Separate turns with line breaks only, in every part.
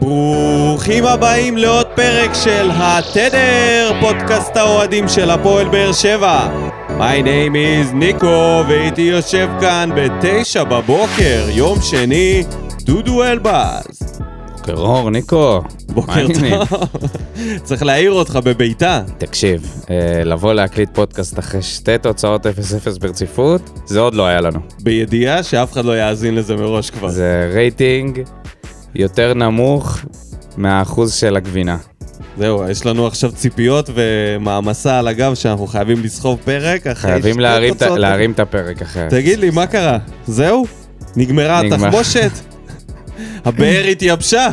ברוכים הבאים לעוד פרק של התדר, פודקאסט האוהדים של הפועל באר שבע. My name is ניקו, ואיתי יושב כאן בתשע בבוקר, יום שני, דודו אלבז.
טרור, ניקו. מה
בוקר
העניינים?
טוב. צריך להעיר אותך בביתה.
תקשיב, אה, לבוא להקליט פודקאסט אחרי שתי תוצאות 0-0 ברציפות, זה עוד לא היה לנו.
בידיעה שאף אחד לא יאזין לזה מראש כבר.
זה רייטינג יותר נמוך מהאחוז של הגבינה.
זהו, יש לנו עכשיו ציפיות ומעמסה על הגב שאנחנו חייבים לסחוב פרק. אחרי
חייבים
שתי
להרים את ה-
תוצאות.
להרים את הפרק אחרת.
תגיד לי, מה קרה? זהו? נגמרה
נגמר.
התחמושת? הבאר התייבשה?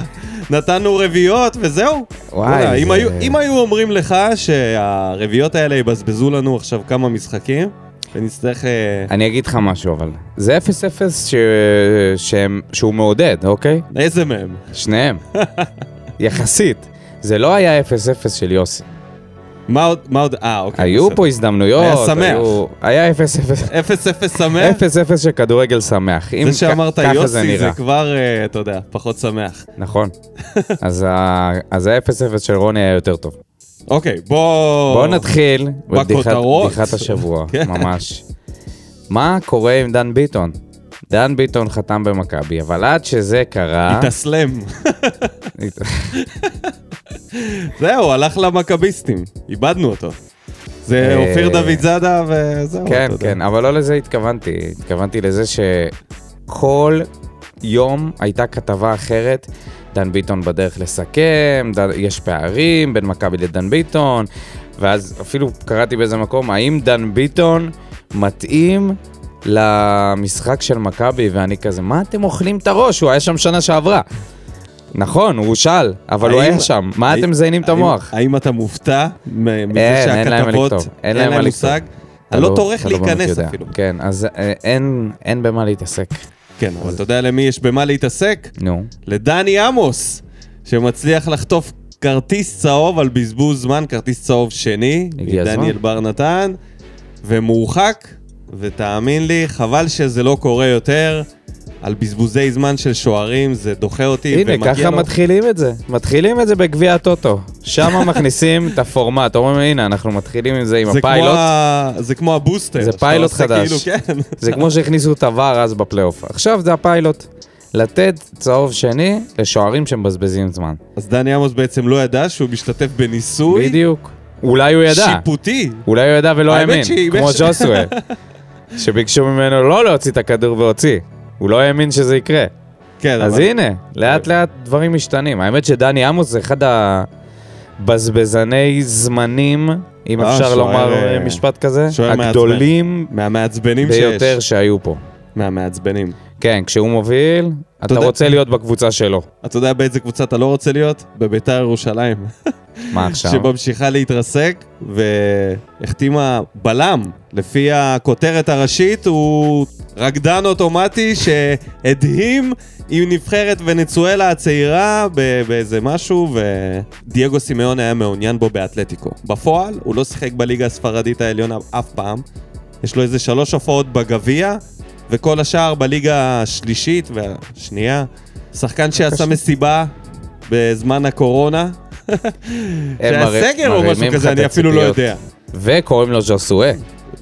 נתנו רביעיות וזהו. וואלה, אם,
זה-
היו, אם היו אומרים לך שהרביעיות האלה יבזבזו לנו עכשיו כמה משחקים, ונצטרך... אה,
אני אגיד לך משהו אבל, זה 0-0 ש... שהם- שהוא מעודד, אוקיי?
איזה מהם?
שניהם. יחסית. זה לא היה 0-0 של יוסי.
מה עוד? מה עוד? אה, אוקיי.
היו פה הזדמנויות.
היה שמח.
היו- היה 0-0.
אפס אפס שמח?
0-0 של כדורגל שמח. אם
כן. זה
כ-
שאמרת
ככה זה
יוסי זה
נראה.
כבר, אה, אתה יודע, פחות שמח.
נכון. אז ה- אז ה-0-0 של רוני היה יותר טוב.
אוקיי, בוא...
בואו נתחיל בבדיחת
בכותרות.
בדיחת השבוע,
כן.
ממש. מה קורה עם דן ביטון? דן ביטון חתם במכבי, אבל עד שזה קרה...
התאסלם. זהו, הלך למכביסטים, איבדנו אותו. זה
אה,
אופיר דוד זאדה וזהו.
כן,
אתה יודע.
כן, אבל לא לזה התכוונתי. התכוונתי לזה שכל יום הייתה כתבה אחרת. דן ביטון בדרך לסכם, דן, יש פערים בין מכבי לדן ביטון, ואז אפילו קראתי באיזה מקום, האם דן ביטון מתאים למשחק של מכבי, ואני כזה, מה אתם אוכלים את הראש? הוא היה שם שנה שעברה. נכון, הוא שאל, אבל הוא
האם-
היה שם, מה
האם-
אתם מזיינים את
האם-
המוח?
האם אתה מופתע מ- מזה
אין, אין להם מה
שהכתבות,
לכתוב. אין להם מה לכתוב.
מושג?
אתה
אני לא טורח
אתה באמת
להיכנס
יודע.
אפילו.
כן, אז אה, אין, אין במה להתעסק.
כן, אבל אתה יודע למי יש במה להתעסק?
נו.
לדני עמוס, שמצליח לחטוף כרטיס צהוב על בזבוז זמן, כרטיס צהוב שני,
הגיע הזמן.
מדניאל בר נתן, ומורחק, ותאמין לי, חבל שזה לא קורה יותר. על בזבוזי זמן של שוערים, זה דוחה אותי
הנה, ככה מתחילים את זה. מתחילים את זה בגביע הטוטו. שם מכניסים את הפורמט. אומרים, הנה, אנחנו מתחילים עם זה, עם
זה כמו,
הפיילוט.
ה... זה כמו הבוסטר.
זה
שאתה
פיילוט
עושה
חדש.
כאילו, כן.
זה כמו שהכניסו את הוואר אז בפלייאוף. עכשיו זה הפיילוט. לתת צהוב שני לשוערים שמבזבזים זמן.
אז דני עמוס בעצם לא ידע שהוא משתתף בניסוי
בדיוק. אולי הוא ידע.
שיפוטי.
אולי הוא ידע ולא
האמת
האמין.
שהיא-
כמו ג'וסווה. שביקשו ממנו לא להוציא את הכדור והוציא. הוא לא האמין שזה יקרה.
כן,
אז
אבל- כן.
הנה, לאט לאט דברים משתנים. האמת שדני עמוס זה אחד הבזבזני זמנים, אם
אה,
אפשר
שוער,
לומר
אה,
משפט כזה,
שוער מעצבן.
הגדולים
מהמעצבנים
ביותר
שיש.
שהיו פה.
מהמעצבנים.
כן, כשהוא מוביל, אתה
תודה.
רוצה להיות בקבוצה שלו.
אתה יודע באיזה קבוצה אתה לא רוצה להיות? בביתר ירושלים.
מה עכשיו?
שממשיכה להתרסק והחתימה בלם. לפי הכותרת הראשית הוא רקדן אוטומטי שהדהים עם נבחרת ונצואלה הצעירה ב- באיזה משהו ודייגו סימאון היה מעוניין בו באתלטיקו. בפועל הוא לא שיחק בליגה הספרדית העליונה אף פעם. יש לו איזה שלוש הופעות בגביע וכל השאר בליגה השלישית והשנייה. שחקן שעשה מסיבה בזמן הקורונה.
הם
זה
מר-
הסגר או משהו
מרימים לך
כזה,
את
אני אפילו לא
הציפיות.
יודע.
וקוראים לו ז'וסואה.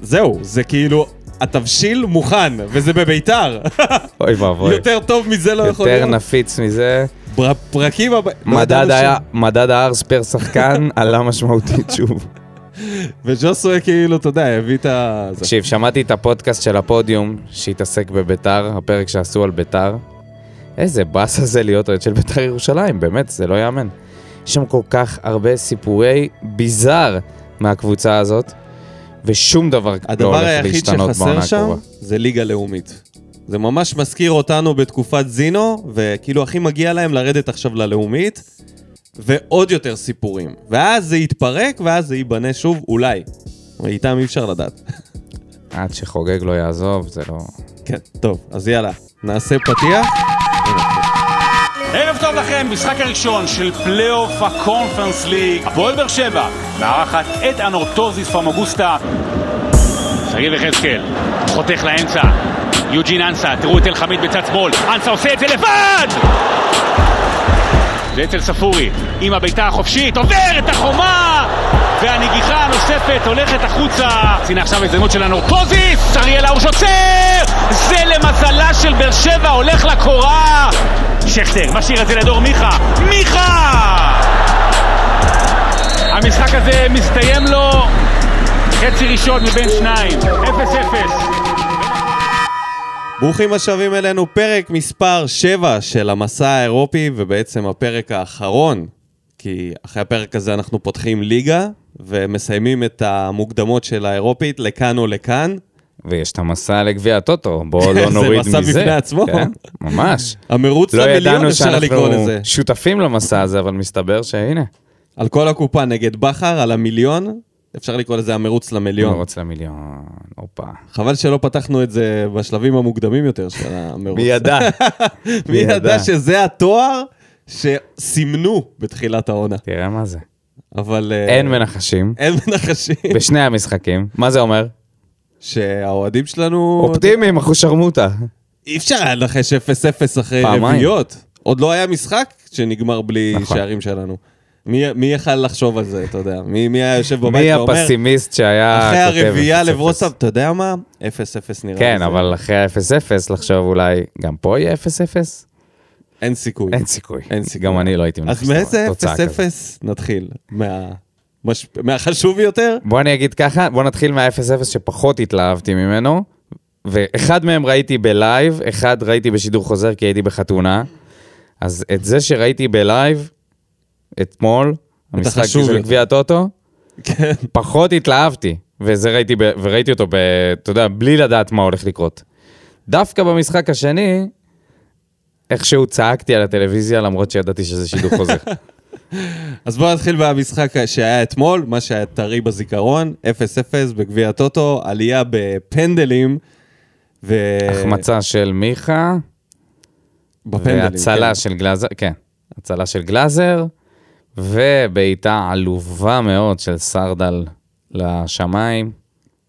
זהו, זה כאילו, התבשיל מוכן, וזה בביתר.
אוי ואבוי.
יותר טוב מזה לא יכול
יותר
להיות. לא
נפיץ מזה.
בפרקים הבאים.
מדד היה- מדד הארס פר שחקן עלה משמעותית שוב.
וג'וסווה כאילו, אתה יודע, הביא את ה... זה.
תקשיב, שמעתי את הפודקאסט של הפודיום שהתעסק בביתר, הפרק שעשו על ביתר. איזה באסה זה להיות אוהד של ביתר ירושלים, באמת, זה לא יאמן. יש שם כל כך הרבה סיפורי ביזאר מהקבוצה הזאת, ושום דבר לא
הדבר
הולך
היחיד
להשתנות בעונה
שחסר שם
הקרובה.
זה ליגה לאומית. זה ממש מזכיר אותנו בתקופת זינו, וכאילו הכי מגיע להם לרדת עכשיו ללאומית, ועוד יותר סיפורים. ואז זה יתפרק, ואז זה ייבנה שוב, אולי. איתם אי אפשר לדעת.
עד שחוגג לא יעזוב, זה לא...
כן, טוב, אז יאללה, נעשה פתיח.
ערב טוב לכם, משחק הראשון של פלייאוף הקונפרנס ליג. הפועל באר שבע מארחת את אנורטוזיס פמוגוסטה. שגיב יחזקאל, חותך לאמצע. יוג'ין אנסה, תראו את אלחמיד בצד שמאל. אנסה עושה את זה לבד! זה אצל ספורי, עם הבעיטה החופשית, עובר את החומה! והנגיחה הנוספת הולכת החוצה. הנה עכשיו הזדמנות של הנורפוזיס, אריאל הרוש עוצר! זה למזלה של באר שבע, הולך לקורה! שכטר משאיר את זה לדור מיכה, מיכה! המשחק הזה מסתיים לו חצי ראשון מבין שניים, 0-0.
ברוכים השבים אלינו, פרק מספר 7 של המסע האירופי, ובעצם הפרק האחרון, כי אחרי הפרק הזה אנחנו פותחים ליגה, ומסיימים את המוקדמות של האירופית, לכאן או לכאן.
ויש את המסע לגביע הטוטו, בואו לא
זה
נוריד מזה.
מסע בפני עצמו.
כן, ממש.
המרוץ
לא
למיליון
ידענו
אפשר לקרוא
שאנחנו
לזה.
שותפים למסע הזה, אבל מסתבר שהנה,
על כל הקופה נגד בכר, על המיליון, אפשר לקרוא לזה המרוץ למיליון.
מרוץ למיליון, הופה.
חבל שלא פתחנו את זה בשלבים המוקדמים יותר של המרוץ.
מי ידע?
מי ידע
ידע?
שזה התואר שסימנו בתחילת העונה.
תראה מה זה.
אבל... אה,
אין מנחשים,
אין מנחשים.
בשני המשחקים. מה זה אומר?
שהאוהדים שלנו...
אופטימיים, אחושרמוטה.
אי אפשר היה לנחש 0-0 אחרי
פעמיים.
רביעיות. עוד לא היה משחק שנגמר בלי
נכון.
שערים שלנו. מי מי יכל לחשוב על זה, אתה יודע? מי מי היה יושב בבית
מי
ואומר...
הפסימיסט שהיה...
אחרי
כותב
הרביעייה
0-0?
לברוסאב, אתה יודע מה? 0-0 נראה
כן,
לי.
אבל אחרי ה-0-0, לחשוב אולי, גם פה יהיה 0-0?
אין סיכוי.
אין סיכוי.
אין סיכוי.
גם אני לא הייתי מנחש
אז
את
מאיזה
התוצאה
0-0
כזאת.
נתחיל? מה- מש- מהחשוב יותר?
בוא אני אגיד ככה, בוא נתחיל מה-0-0 שפחות התלהבתי ממנו, ואחד מהם ראיתי בלייב, אחד ראיתי בשידור חוזר כי הייתי בחתונה, אז את זה שראיתי בלייב, אתמול, המשחק
החשוב
של
יותר.
גביע הטוטו,
כן.
פחות התלהבתי, וזה ראיתי, ב, וראיתי אותו, ב, אתה יודע, בלי לדעת מה הולך לקרות. דווקא במשחק השני, איכשהו צעקתי על הטלוויזיה, למרות שידעתי שזה שידור חוזר.
אז בואו נתחיל במשחק שהיה אתמול, מה שהיה טרי בזיכרון, 0-0 בגביע הטוטו, עלייה בפנדלים. ו...
החמצה של מיכה,
בפנדלים,
והצלה
כן.
של גלאזר, כן, הצלה של גלאזר, ובעיטה עלובה מאוד של סרדל לשמיים.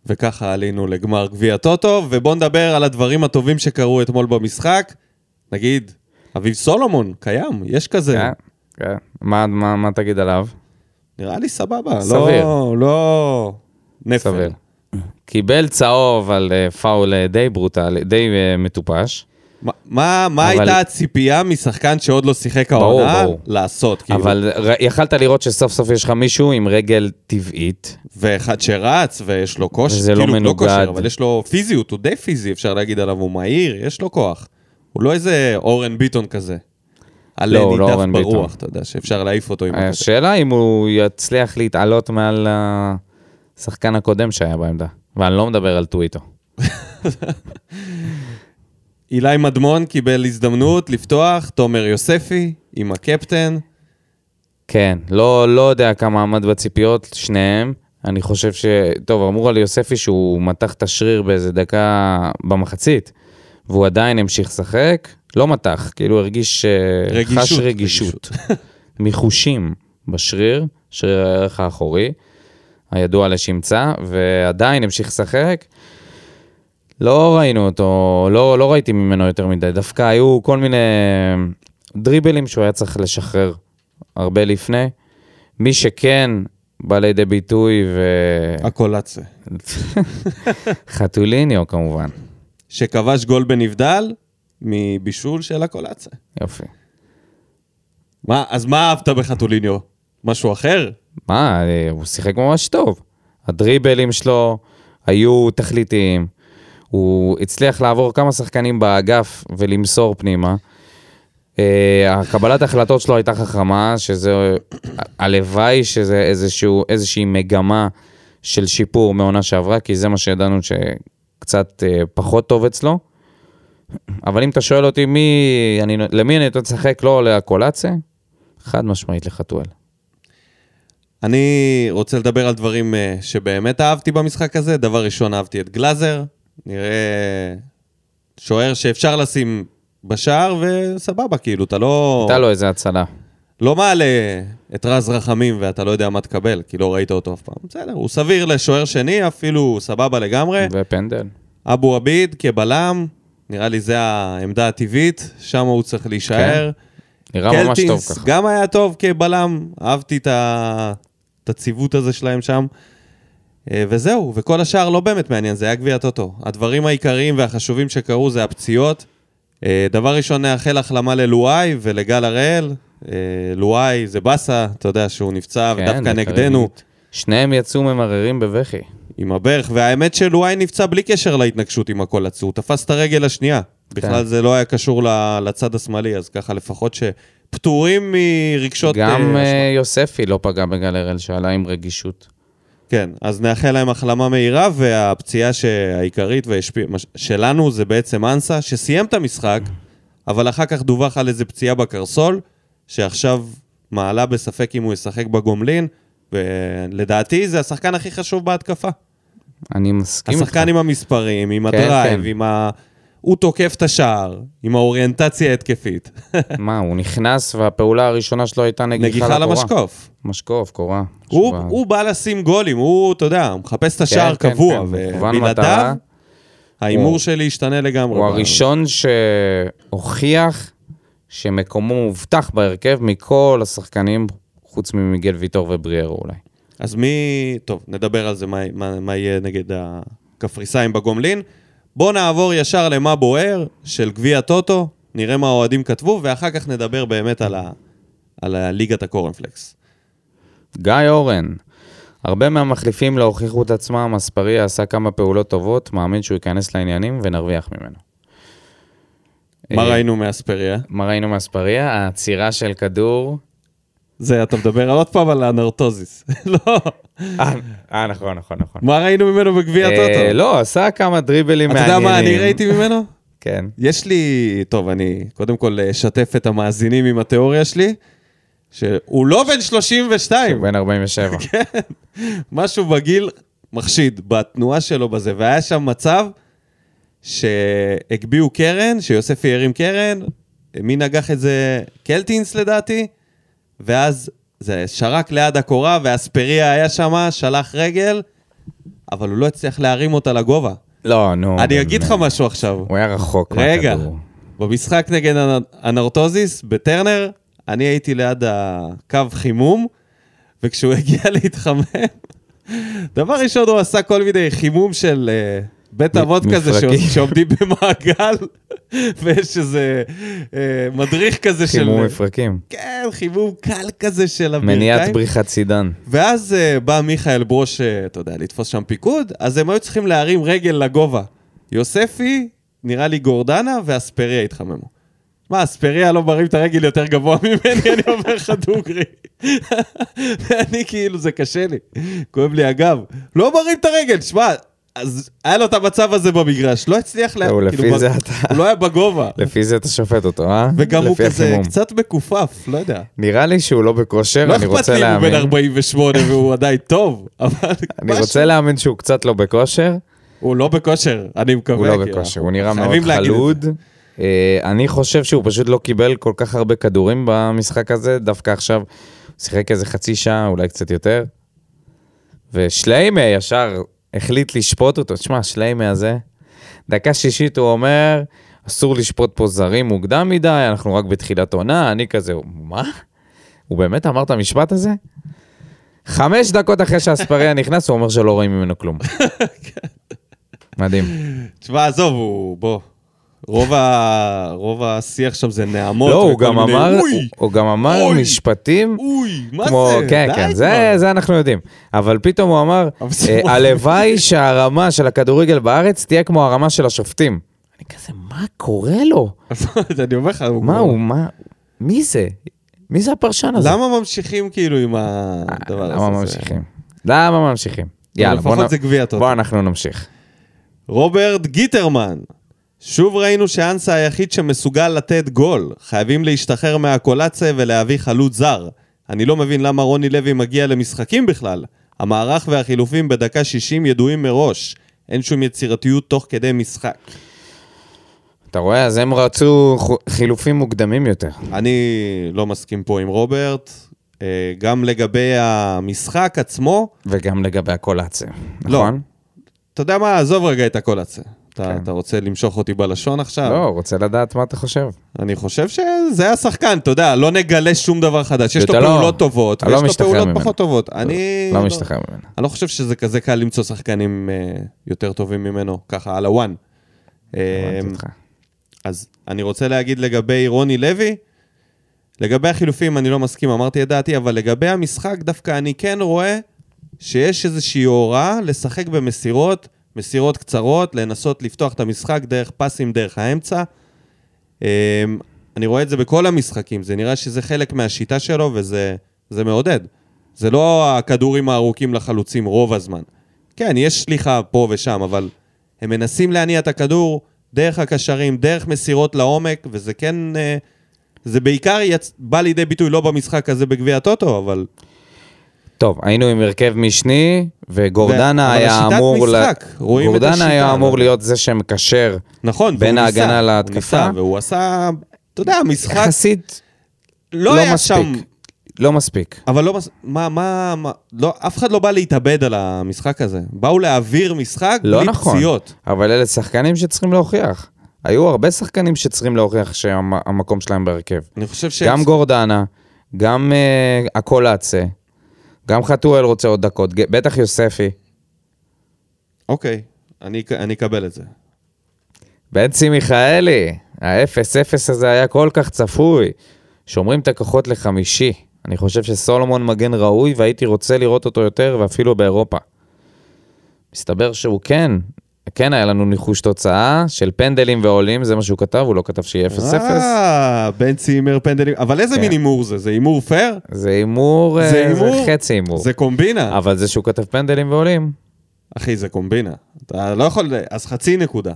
וככה עלינו לגמר גביע הטוטו, ובואו נדבר על הדברים הטובים שקרו אתמול במשחק. נגיד, אביב סולומון, קיים, יש כזה.
כן, כן. מה- מה מה תגיד עליו?
נראה לי סבבה.
סביר.
לא, לא... נפל.
סביר. קיבל צהוב על אה, פאול אה, די ברוטל, די אה, מטופש,
מה- מה, מה
אבל-
הייתה הציפייה משחקן שעוד לא שיחק
ברור,
העונה
ברור.
לעשות? כאילו?
אבל ר- יכלת לראות שסוף סוף יש לך מישהו עם רגל טבעית.
ואחד שרץ ויש לו כושר,
וזה לא
כאילו לא
מנוגד.
כושר, אבל יש לו פיזיות, הוא די פיזי, אפשר להגיד עליו, הוא מהיר, יש לו כוח. הוא לא איזה אורן ביטון כזה. עלה
הוא לא
נידף
אורן
ברוח,
ביטון. אה,
אתה יודע, שאפשר להעיף אותו עם הכתף.
השאלה אם הוא יצליח להתעלות מעל השחקן הקודם שהיה בעמדה, ואני לא מדבר על טוויטו.
אילי מדמון קיבל הזדמנות לפתוח, תומר יוספי עם הקפטן.
כן, לא, לא יודע כמה עמד בציפיות, שניהם. אני חושב ש... טוב, אמרו על יוספי שהוא מתח את השריר באיזה דקה במחצית, והוא עדיין המשיך לשחק. לא מתח, כאילו הרגיש... אה,
רגישות,
חש רגישות. כן. מחושים בשריר, שריר הערך האחורי, הידוע לשמצה, ועדיין המשיך לשחק. לא ראינו אותו, לא, לא ראיתי ממנו יותר מדי, דווקא היו כל מיני דריבלים שהוא היה צריך לשחרר הרבה לפני. מי שכן בא לידי ביטוי
הקולציה.
וחתוליניו כמובן,
שכבש גול בנבדל מבישול של הקולציה.
יופי.
מה, אז מה אהבת בחתוליניו? משהו אחר?
מה, אה, הוא שיחק ממש טוב. הדריבלים שלו היו תכליתיים. הוא הצליח לעבור כמה שחקנים באגף ולמסור פנימה. אה, הקבלת ההחלטות שלו הייתה חכמה, שזה... הלוואי שזה איזשהו, איזושהי מגמה של שיפור מעונה שעברה, כי זה מה שידענו שקצת אה, פחות טוב אצלו. אבל אם אתה שואל אותי מי, אני, למי אני יותר לשחק, לא לקולאצה, חד משמעית לחתואל.
אני רוצה לדבר על דברים אה, שבאמת אהבתי במשחק הזה. דבר ראשון, אהבתי את גלאזר. נראה שוער שאפשר לשים בשער, וסבבה, כאילו, אתה לא...
הייתה לו איזה הצלה.
לא מעלה את רז רחמים ואתה לא יודע מה תקבל, כי לא ראית אותו אף פעם. בסדר, הוא סביר לשוער שני, אפילו סבבה לגמרי.
ופנדל.
אבו כן. עביד כבלם, נראה לי זה העמדה הטבעית, שם הוא צריך להישאר.
נראה ממש טוב
קלטינס
ככה.
גם היה טוב כבלם, אהבתי את ה- את הציוות הזה שלהם שם. אה, וזהו, וכל השאר לא באמת מעניין, זה היה גביע טוטו. הדברים העיקריים והחשובים שקרו זה הפציעות. אה, דבר ראשון, נאחל החלמה ללואי ולגל הראל. אה, לואי זה באסה, אתה יודע שהוא נפצע,
כן,
ודווקא
זה
נגדנו,
קרנית. שניהם יצאו ממררים בבכי.
עם הברך. והאמת שלואי נפצע בלי קשר להתנגשות עם הכל עצור, הוא תפס את הרגל השנייה.
כן.
בכלל זה לא היה קשור ל- לצד השמאלי, אז ככה לפחות שפטורים מרגשות...
גם
אה,
אה, יוספי לא פגע בגל הראל, שעלה עם רגישות.
כן, אז נאחל להם החלמה מהירה, והפציעה שהעיקרית והשפיע... מה ש- שלנו זה בעצם אנסה, שסיים את המשחק, אבל אחר כך דווח על איזה פציעה בקרסול, שעכשיו מעלה בספק אם הוא ישחק בגומלין, ולדעתי זה השחקן הכי חשוב בהתקפה.
אני מסכים איתך.
השחקן עם המספרים, עם
כן,
הדרייב,
כן.
עם ה... הוא תוקף את השער, עם האוריינטציה ההתקפית.
מה, הוא נכנס והפעולה הראשונה שלו הייתה נגיחה
נגיחה
לקורה.
למשקוף.
משקוף, קורה.
הוא,
שובה.
הוא בא לשים גולים, הוא, אתה יודע, הוא מחפש את
כן,
השער
כן,
קבוע,
כן, מכוון מטרה.
ובלעדיו, ההימור
הוא-
שלי ישתנה לגמרי.
הוא
ב-
הראשון שהוכיח שמקומו מובטח בהרכב מכל השחקנים, חוץ ממיגל ויטור ובריארו אולי.
אז מי... טוב, נדבר על זה, מה, מה, מה יהיה נגד הקפריסאים בגומלין. בואו נעבור ישר למה בוער של גביע טוטו, נראה מה האוהדים כתבו, ואחר כך נדבר באמת על, ה, על הליגת הקורנפלקס.
גיא אורן, הרבה מהמחליפים לא הוכיחו את עצמם, אספריה עשה כמה פעולות טובות, מאמין שהוא ייכנס לעניינים ונרוויח ממנו.
מה
אה,
ראינו מאספריה?
מה ראינו מאספריה? העצירה של כדור.
זה, אתה מדבר עוד פעם על הנרטוזיס. לא,
אה, אה, נכון, נכון, נכון.
מה ראינו ממנו בגביע
אה,
טוטו?
לא, עשה כמה דריבלים
אתה
מעניינים.
יודע מה אני ראיתי ממנו?
כן.
יש לי, טוב, אני קודם כל אשתף את המאזינים עם התיאוריה שלי, שהוא לא בן 32,
הוא בן 47.
כן. משהו בגיל מחשיד, בתנועה שלו בזה, והיה שם מצב שהגביהו קרן, שיוספי הרים קרן, מי נגח את זה? קלטינס לדעתי, ואז זה שרק ליד הקורה, ואספריה היה שם, שלח רגל, אבל הוא לא הצליח להרים אותה לגובה.
לא, נו.
אני אגיד לך
באמת.
משהו עכשיו.
הוא היה רחוק
רגע,
מהכדור.
במשחק נגד הנ- הנרטוזיס, בטרנר, אני הייתי ליד הקו חימום, וכשהוא הגיע להתחמם, דבר ראשון, הוא עשה כל מיני חימום של אה, בית
מ-
אבות כזה,
מפרקים.
שעוש- שעומדים במעגל, ויש איזה אה, מדריך כזה של...
חימום מפרקים.
כן, חימום קל כזה של הברכיים.
מניעת בריחת סידן.
ואז אה, בא מיכאל ברוש, אה, אתה יודע, לתפוס שם פיקוד, אז הם היו צריכים להרים רגל לגובה. יוספי, נראה לי גורדנה, ואספריה התחממו. מה, אספריה לא מרים את הרגל יותר גבוה ממני, אני אומר לך דוגרי. ואני כאילו, זה קשה לי, כואב לי הגב. לא מרים את הרגל, שמע, אז היה לו את המצב הזה במגרש, לא הצליח לה...
זהו,
כאילו,
לפי
ב-
זה אתה-
הוא לא היה בגובה.
לפי זה אתה שופט אותו, אה?
וגם הוא
לפי
כזה
החימום.
קצת מכופף, לא יודע.
נראה לי שהוא לא בכושר,
לא
אני
אכפת
רוצה
לי אם הוא
להאמין.
בן 48 והוא עדיין טוב, אבל
אני
משהו-
רוצה להאמין שהוא קצת לא בכושר.
הוא לא בכושר, אני מקווה.
הוא לא
כי
בכושר,
אנחנו
הוא נראה מאוד
חייבים להגיד את
חלוד.
זה.
אה, אני חושב שהוא פשוט לא קיבל כל כך הרבה כדורים במשחק הזה, דווקא עכשיו הוא שיחק איזה חצי שעה, אולי קצת יותר. ושליימה ישר החליט לשפוט אותו. תשמע, שליימה הזה, דקה שישית הוא אומר, אסור לשפוט פה זרים מוקדם מדי, אנחנו רק בתחילת עונה, אני כזה, מה? הוא באמת אמר את המשפט הזה? חמש דקות אחרי שאספריה נכנס, הוא אומר שלא רואים ממנו כלום.
כן.
מדהים.
תשמע, עזוב, הוא... בוא. רוב ה- רוב השיח שם זה נעמות.
לא, הוא
וכל
גם
מיני,
אמר,
אוי,
הוא גם אמר
אוי,
משפטים,
אוי, מה
כמו,
זה?
כן,
די
כן,
כבר.
זה, זה אנחנו יודעים. אבל פתאום הוא אמר,
אבל זה
אה,
מאוד-
הלוואי שהרמה של הכדורגל בארץ תהיה כמו הרמה של השופטים. אני כזה, מה קורה לו?
אני אומר לך, הוא...
מה
כבר-
הוא, מה, מי זה? מי זה הפרשן הזה?
לא.
אה,
למה ממשיכים כאילו עם הדבר הזה?
למה
זה-
ממשיכים? למה ממשיכים? יאללה, בוא
לפחות
נ-
זה גביע טוטו.
בוא אנחנו נמשיך.
רוברט גיטרמן. שוב ראינו שאנסה היחיד שמסוגל לתת גול. חייבים להשתחרר מהקולציה ולהביא חלוץ זר. אני לא מבין למה רוני לוי מגיע למשחקים בכלל. המערך והחילופים בדקה 60 ידועים מראש. אין שום יצירתיות תוך כדי משחק.
אתה רואה, אז הם רצו חו- חילופים מוקדמים יותר.
אני לא מסכים פה עם רוברט. אה, גם לגבי המשחק עצמו, לא.
וגם לגבי הקולאציה, נכון?
אתה יודע מה, עזוב רגע את הקולציה. אתה, אתה רוצה למשוך אותי בלשון עכשיו?
לא, רוצה לדעת מה אתה חושב.
אני חושב שזה השחקן, אתה יודע, לא נגלה שום דבר חדש. יש לו
אתה לא-
פעולות טובות,
אתה לא
ויש לו
משתחרר
פעולות
ממנו.
פחות טובות. אני...
לא משתחרר ממנו.
אני לא חושב שזה כזה קל למצוא שחקנים אה, יותר טובים ממנו, ככה, על הוואן. אה,
הבנתי אותך.
אז אני רוצה להגיד לגבי רוני לוי, לגבי החילופים אני לא מסכים, אמרתי את דעתי, אבל לגבי המשחק דווקא אני כן רואה שיש איזושהי הוראה לשחק במסירות, מסירות קצרות, לנסות לפתוח את המשחק דרך פסים, דרך האמצע. אמ, אני רואה את זה בכל המשחקים, זה נראה שזה חלק מהשיטה שלו וזה זה מעודד. זה לא הכדורים הארוכים לחלוצים רוב הזמן. כן, יש שליחה פה ושם, אבל הם מנסים להניע את הכדור דרך הקשרים, דרך מסירות לעומק, וזה כן... אה, זה בעיקר יצ... בא לידי ביטוי לא במשחק הזה בגביע הטוטו, אבל...
טוב, היינו עם הרכב משני,
ו-
וגורדנה
אבל
היה
שיטת
אמור... ל-
משחק, רואים את
גורדנה
השיטה,
היה
אבל-
אמור להיות זה שמקשר.
נכון,
בין
והוא ניסה,
ההגנה
הוא
להתקפה.
ניסה, והוא עשה... אתה יודע, המשחק
יחסית,
לא
לא
היה
מספיק.
שם...
לא מספיק.
אבל לא, מס- מה, מה, מה, לא, אף אחד לא בא להתאבד על המשחק הזה. באו להעביר משחק
לא
בלי
נכון.
פציעות.
אבל אלה שחקנים שצריכים להוכיח. היו הרבה שחקנים שצריכים להוכיח שהמקום שלהם בהרכב.
אני חושב ש...
גם גורדנה, גם uh, הקולאצה, גם חתואל רוצה עוד דקות, ג- בטח יוספי.
אוקיי, אני, אק- אני אקבל את זה.
בנצי מיכאלי, ה-0-0 הזה היה כל כך צפוי. שומרים את הכוחות לחמישי. אני חושב שסולומון מגן ראוי והייתי רוצה לראות אותו יותר ואפילו באירופה. מסתבר שהוא כן, כן היה לנו ניחוש תוצאה של פנדלים ועולים, זה מה שהוא כתב, הוא לא כתב שיהיה 0-0.
אה, בן צימר פנדלים. אבל איזה
כן.
מין הימור זה? זה הימור פייר?
זה הימור, אה,
זה הימור?
חצי הימור.
זה קומבינה.
אבל זה שהוא כתב פנדלים ועולים,
אחי, זה קומבינה. אתה לא יכול... אז חצי נקודה.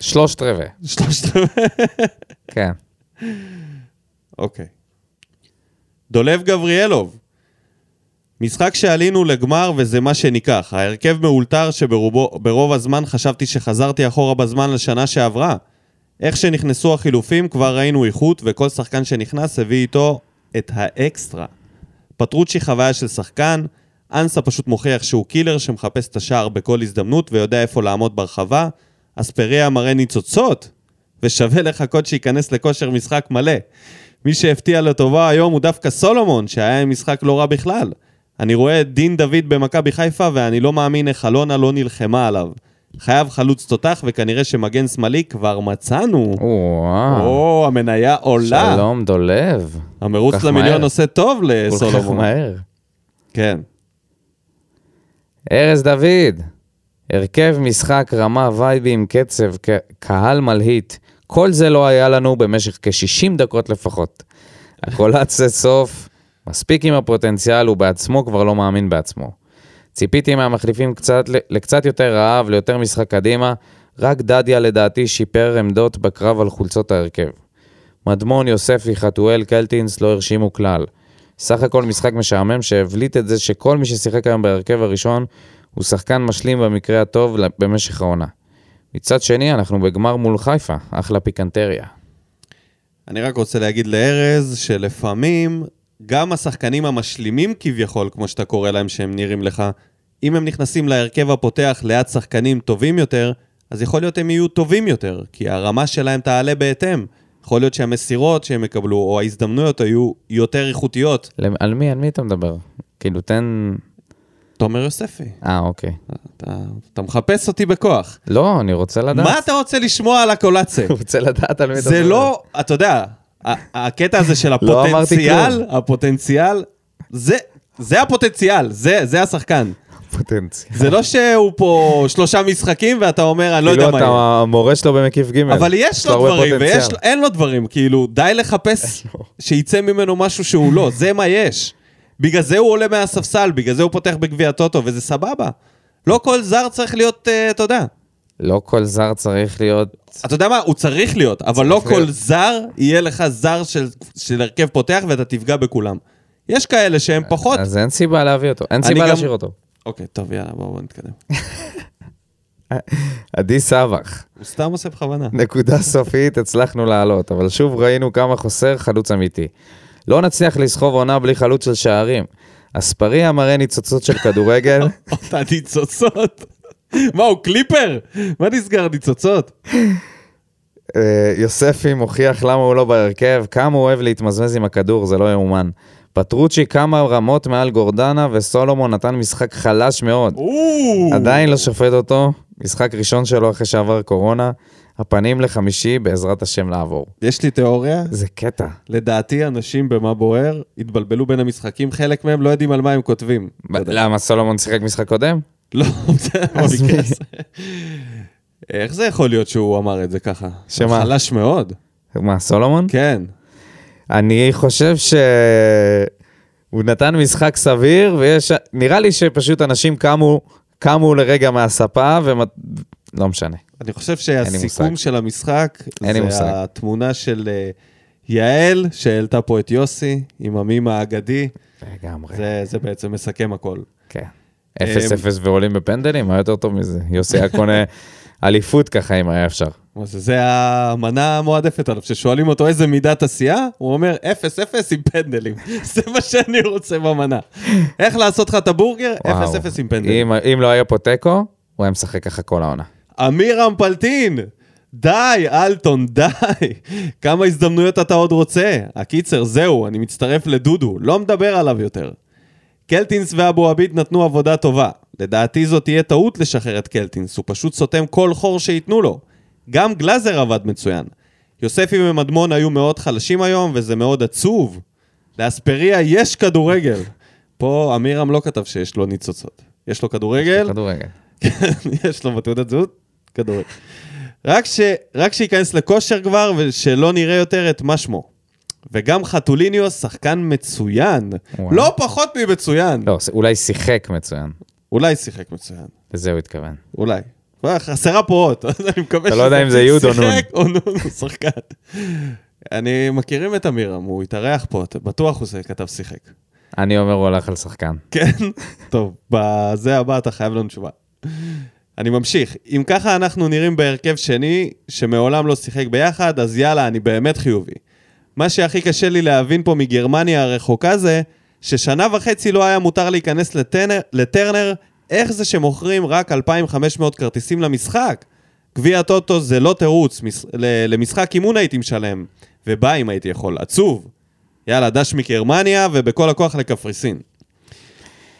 שלושת רבעי,
שלושת...
כן.
אוקיי. דולב גבריאלוב. משחק שעלינו לגמר וזה מה שניקח. ההרכב מאולתר שברוב הזמן חשבתי שחזרתי אחורה בזמן לשנה שעברה. איך שנכנסו החילופים כבר ראינו איכות וכל שחקן שנכנס הביא איתו את האקסטרה. פטרוצ'י חוויה של שחקן, אנסה פשוט מוכיח שהוא קילר שמחפש את השער בכל הזדמנות ויודע איפה לעמוד ברחבה, אספריה מראה ניצוצות, ושווה לחכות שייכנס לכושר משחק מלא. מי שהפתיע לטובה היום הוא דווקא סולומון, שהיה עם משחק לא רע בכלל. אני רואה את דין דוד במכבי חיפה ואני לא מאמין איך אלונה לא נלחמה עליו. חייב חלוץ תותח וכנראה שמגן שמאלי כבר מצאנו.
וואו,
או, המניה עולה.
שלום דולב. כל
המרוץ
כך
למיליון
מהר.
עושה טוב
כל כך
לסולומון.
מהר.
כן.
ארז דוד, הרכב משחק, רמה, וייבים, קצב, ק- קהל מלהיט. כל זה לא היה לנו במשך כ-60 דקות לפחות. הכל עד סוף, מספיק עם הפוטנציאל, הוא בעצמו כבר לא מאמין בעצמו. ציפיתי מהמחליפים קצת, ל- לקצת יותר רעב, ליותר משחק קדימה, רק דדיה לדעתי שיפר עמדות בקרב על חולצות ההרכב. מדמון, יוספי, חתואל, קלטינס לא הרשימו כלל. סך הכל משחק משעמם שהבליט את זה שכל מי ששיחק היום בהרכב הראשון הוא שחקן משלים במקרה הטוב ל- במשך העונה. מצד שני, אנחנו בגמר מול חיפה, אחלה פיקנטריה.
אני רק רוצה להגיד לארז שלפעמים גם השחקנים המשלימים כביכול, כמו שאתה קורא להם שהם נראים לך, אם הם נכנסים להרכב הפותח ליד שחקנים טובים יותר, אז יכול להיות הם יהיו טובים יותר, כי הרמה שלהם תעלה בהתאם. יכול להיות שהמסירות שהם יקבלו, או ההזדמנויות היו יותר איכותיות.
למ- על מי, על מי אתה מדבר? כאילו, תן...
תומר יוספי,
אה, אוקיי.
אתה, אתה מחפש אותי בכוח.
לא, אני רוצה לדעת.
מה אתה רוצה לשמוע על הקולאצה?
אני רוצה לדעת על מי אתה
זה
מדבר.
לא, אתה יודע, ה- הקטע הזה של
לא אמרתי
הפוטנציאל, הפוטנציאל, זה... זה הפוטנציאל, זה, זה השחקן.
פוטנציאל.
זה לא שהוא פה שלושה משחקים ואתה אומר, אני לא יודע
כאילו,
מה
אתה
יהיה.
המורה שלו במקיף ג'.
אבל יש לו
הרבה
דברים,
פוטנציאל.
ואין לו דברים, כאילו, די לחפש שיצא ממנו משהו שהוא לא, זה מה יש. בגלל זה הוא עולה מהספסל, בגלל זה הוא פותח בגביע הטוטו, וזה סבבה. לא כל זר צריך להיות, אה, אתה יודע.
לא כל זר צריך להיות...
אתה יודע מה? הוא צריך להיות, אבל לא
צריך
כל
להיות.
זר יהיה לך זר של, של הרכב פותח ואתה תפגע בכולם. יש כאלה שהם פחות...
אז אין סיבה להביא אותו, אין
אני
סיבה
גם-
להשאיר אותו.
אוקיי, טוב, יאללה, בואו בוא נתקדם.
עדי סבח,
הוא סתם עושה בכוונה.
נקודה סופית, הצלחנו לעלות, אבל שוב ראינו כמה חוסר חלוץ אמיתי. לא נצליח לסחוב עונה בלי חלוץ של שערים. אספריה מראה ניצוצות של כדורגל,
אותה ניצוצות. מה, הוא קליפר? מה נסגר, ניצוצות?
אה, יוספי מוכיח למה הוא לא בהרכב, כמה הוא אוהב להתמזמז עם הכדור, זה לא יאומן. פטרוצ'י כמה רמות מעל גורדנה, וסולומון נתן משחק חלש מאוד.
או,
עדיין לא שופט אותו, משחק ראשון שלו אחרי שעבר קורונה, הפנים לחמישי בעזרת השם לעבור.
יש לי תיאוריה.
זה קטע.
לדעתי, אנשים במה בוער התבלבלו בין המשחקים, חלק מהם לא יודעים על מה הם כותבים. אתה לא יודע.
למה סולומון שיחק משחק קודם?
לא, בסדר,
אז מי?
במקרה הזה. איך זה יכול להיות שהוא אמר את זה ככה?
שמה?
חלש מאוד.
מה, סולומון?
כן.
אני חושב ש... הוא נתן משחק סביר, ויש... נראה לי שפשוט אנשים קמו, קמו לרגע מהספה, ומת... לא משנה.
אני חושב שהסיכום
מושג.
של המשחק,
אין לי
זה
מושג.
התמונה של אה, יעל, שהעלתה פה את יוסי, עם המים האגדי,
לגמרי.
זה זה בעצם מסכם הכל.
כן. 0-0 ועולים בפנדלים, מה יותר טוב מזה? יוסי היה קונה אליפות ככה, אם היה אפשר.
מה זה, זה המנה המועדפת עליו, כששואלים אותו איזה מידת עשייה, הוא אומר 0-0 עם פנדלים. זה מה שאני רוצה במנה. איך לעשות לך את הבורגר? 0-0
וואו.
עם פנדלים.
אם- אם לא היה פה תיקו, הוא היה משחק ככה כל העונה.
אמיר אמפלטין! די, אלטון, די. כמה הזדמנויות אתה עוד רוצה? הקיצר, זהו, אני מצטרף לדודו, לא מדבר עליו יותר. קלטינס ואבו עביד נתנו עבודה טובה. לדעתי זאת תהיה טעות לשחרר את קלטינס, הוא פשוט סותם כל חור שייתנו לו. גם גלאזר עבד מצוין. יוספי ומדמון היו מאוד חלשים היום, וזה מאוד עצוב. לאספריה יש כדורגל. פה אמירם לא כתב שיש לו ניצוצות. יש לו כדורגל,
כדורגל.
כן, יש לו בתעודת זהות כדורגל. רק, ש, רק שייכנס לכושר כבר ושלא נראה יותר את מה שמו. וגם חתוליניו שחקן מצוין.
וואו.
לא פחות ממצוין.
לא, ס- אולי שיחק מצוין.
אולי שיחק מצוין,
לזה הוא התכוון.
אולי. וואי, חסרה פה אות, אז אני מקווה
אתה לא יודע אם זה יוד או נון.
שיחק או נון, הוא שחקן. אני מכירים את אמירם, הוא התארח פה, אתה- בטוח הוא זה- כתב שיחק.
אני אומר, הוא הלך על שחקן.
כן? טוב, בזה הבא אתה חייב לנו תשובה. אני ממשיך. אם ככה אנחנו נראים בהרכב שני, שמעולם לא שיחק ביחד, אז יאללה, אני באמת חיובי. מה שהכי קשה לי להבין פה מגרמניה הרחוקה זה, ששנה וחצי לא היה מותר להיכנס לטנר, לטרנר, איך זה שמוכרים רק 2,500 כרטיסים למשחק? גביע הטוטו זה לא תירוץ, מש... ל- למשחק אימון הייתי משלם, ובא אם הייתי יכול, עצוב. יאללה, דש מגרמניה, ובכל הכוח לקפריסין.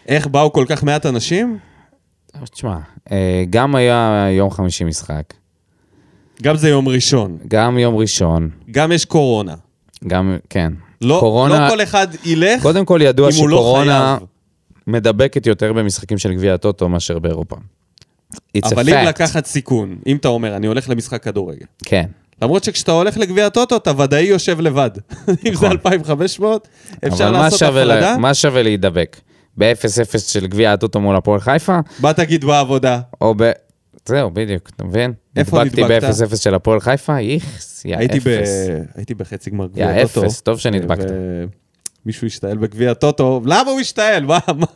איך באו כל כך מעט אנשים?
אבל תשמע, אה, גם היה יום חמישי משחק,
גם זה יום ראשון,
גם יום ראשון,
גם יש קורונה.
גם, כן.
לא,
קורונה-
לא כל אחד ילך
קודם כל ידוע
אם הוא לא
שקורונה
חייב.
מדבקת יותר במשחקים של גביע הטוטו מאשר באירופה. It's a
אבל אם
fact.
לקחת סיכון, אם אתה אומר, אני הולך למשחק כדורגל.
כן.
למרות שכשאתה הולך לגביע הטוטו, אתה ודאי יושב לבד. אם זה 2,500, אפשר
נכון. אבל מה
לעשות
שווה ל-
הפרדה.
מה שווה להידבק? ב-0-0 של גביע הטוטו מול הפועל חיפה,
מה תגיד בעבודה?
או ב... זהו, בדיוק, אתה מבין?
איפה נדבקת?
נדבקתי ב-0-0 של הפועל חיפה, איכס, יא
הייתי, ב...
אפס.
הייתי בחצי גמר
יא
גביע הטוטו.
אפס, טוב שנדבקת.
ו- מישהו השתעל בגביע הטוטו, למה הוא השתעל? מה? מה?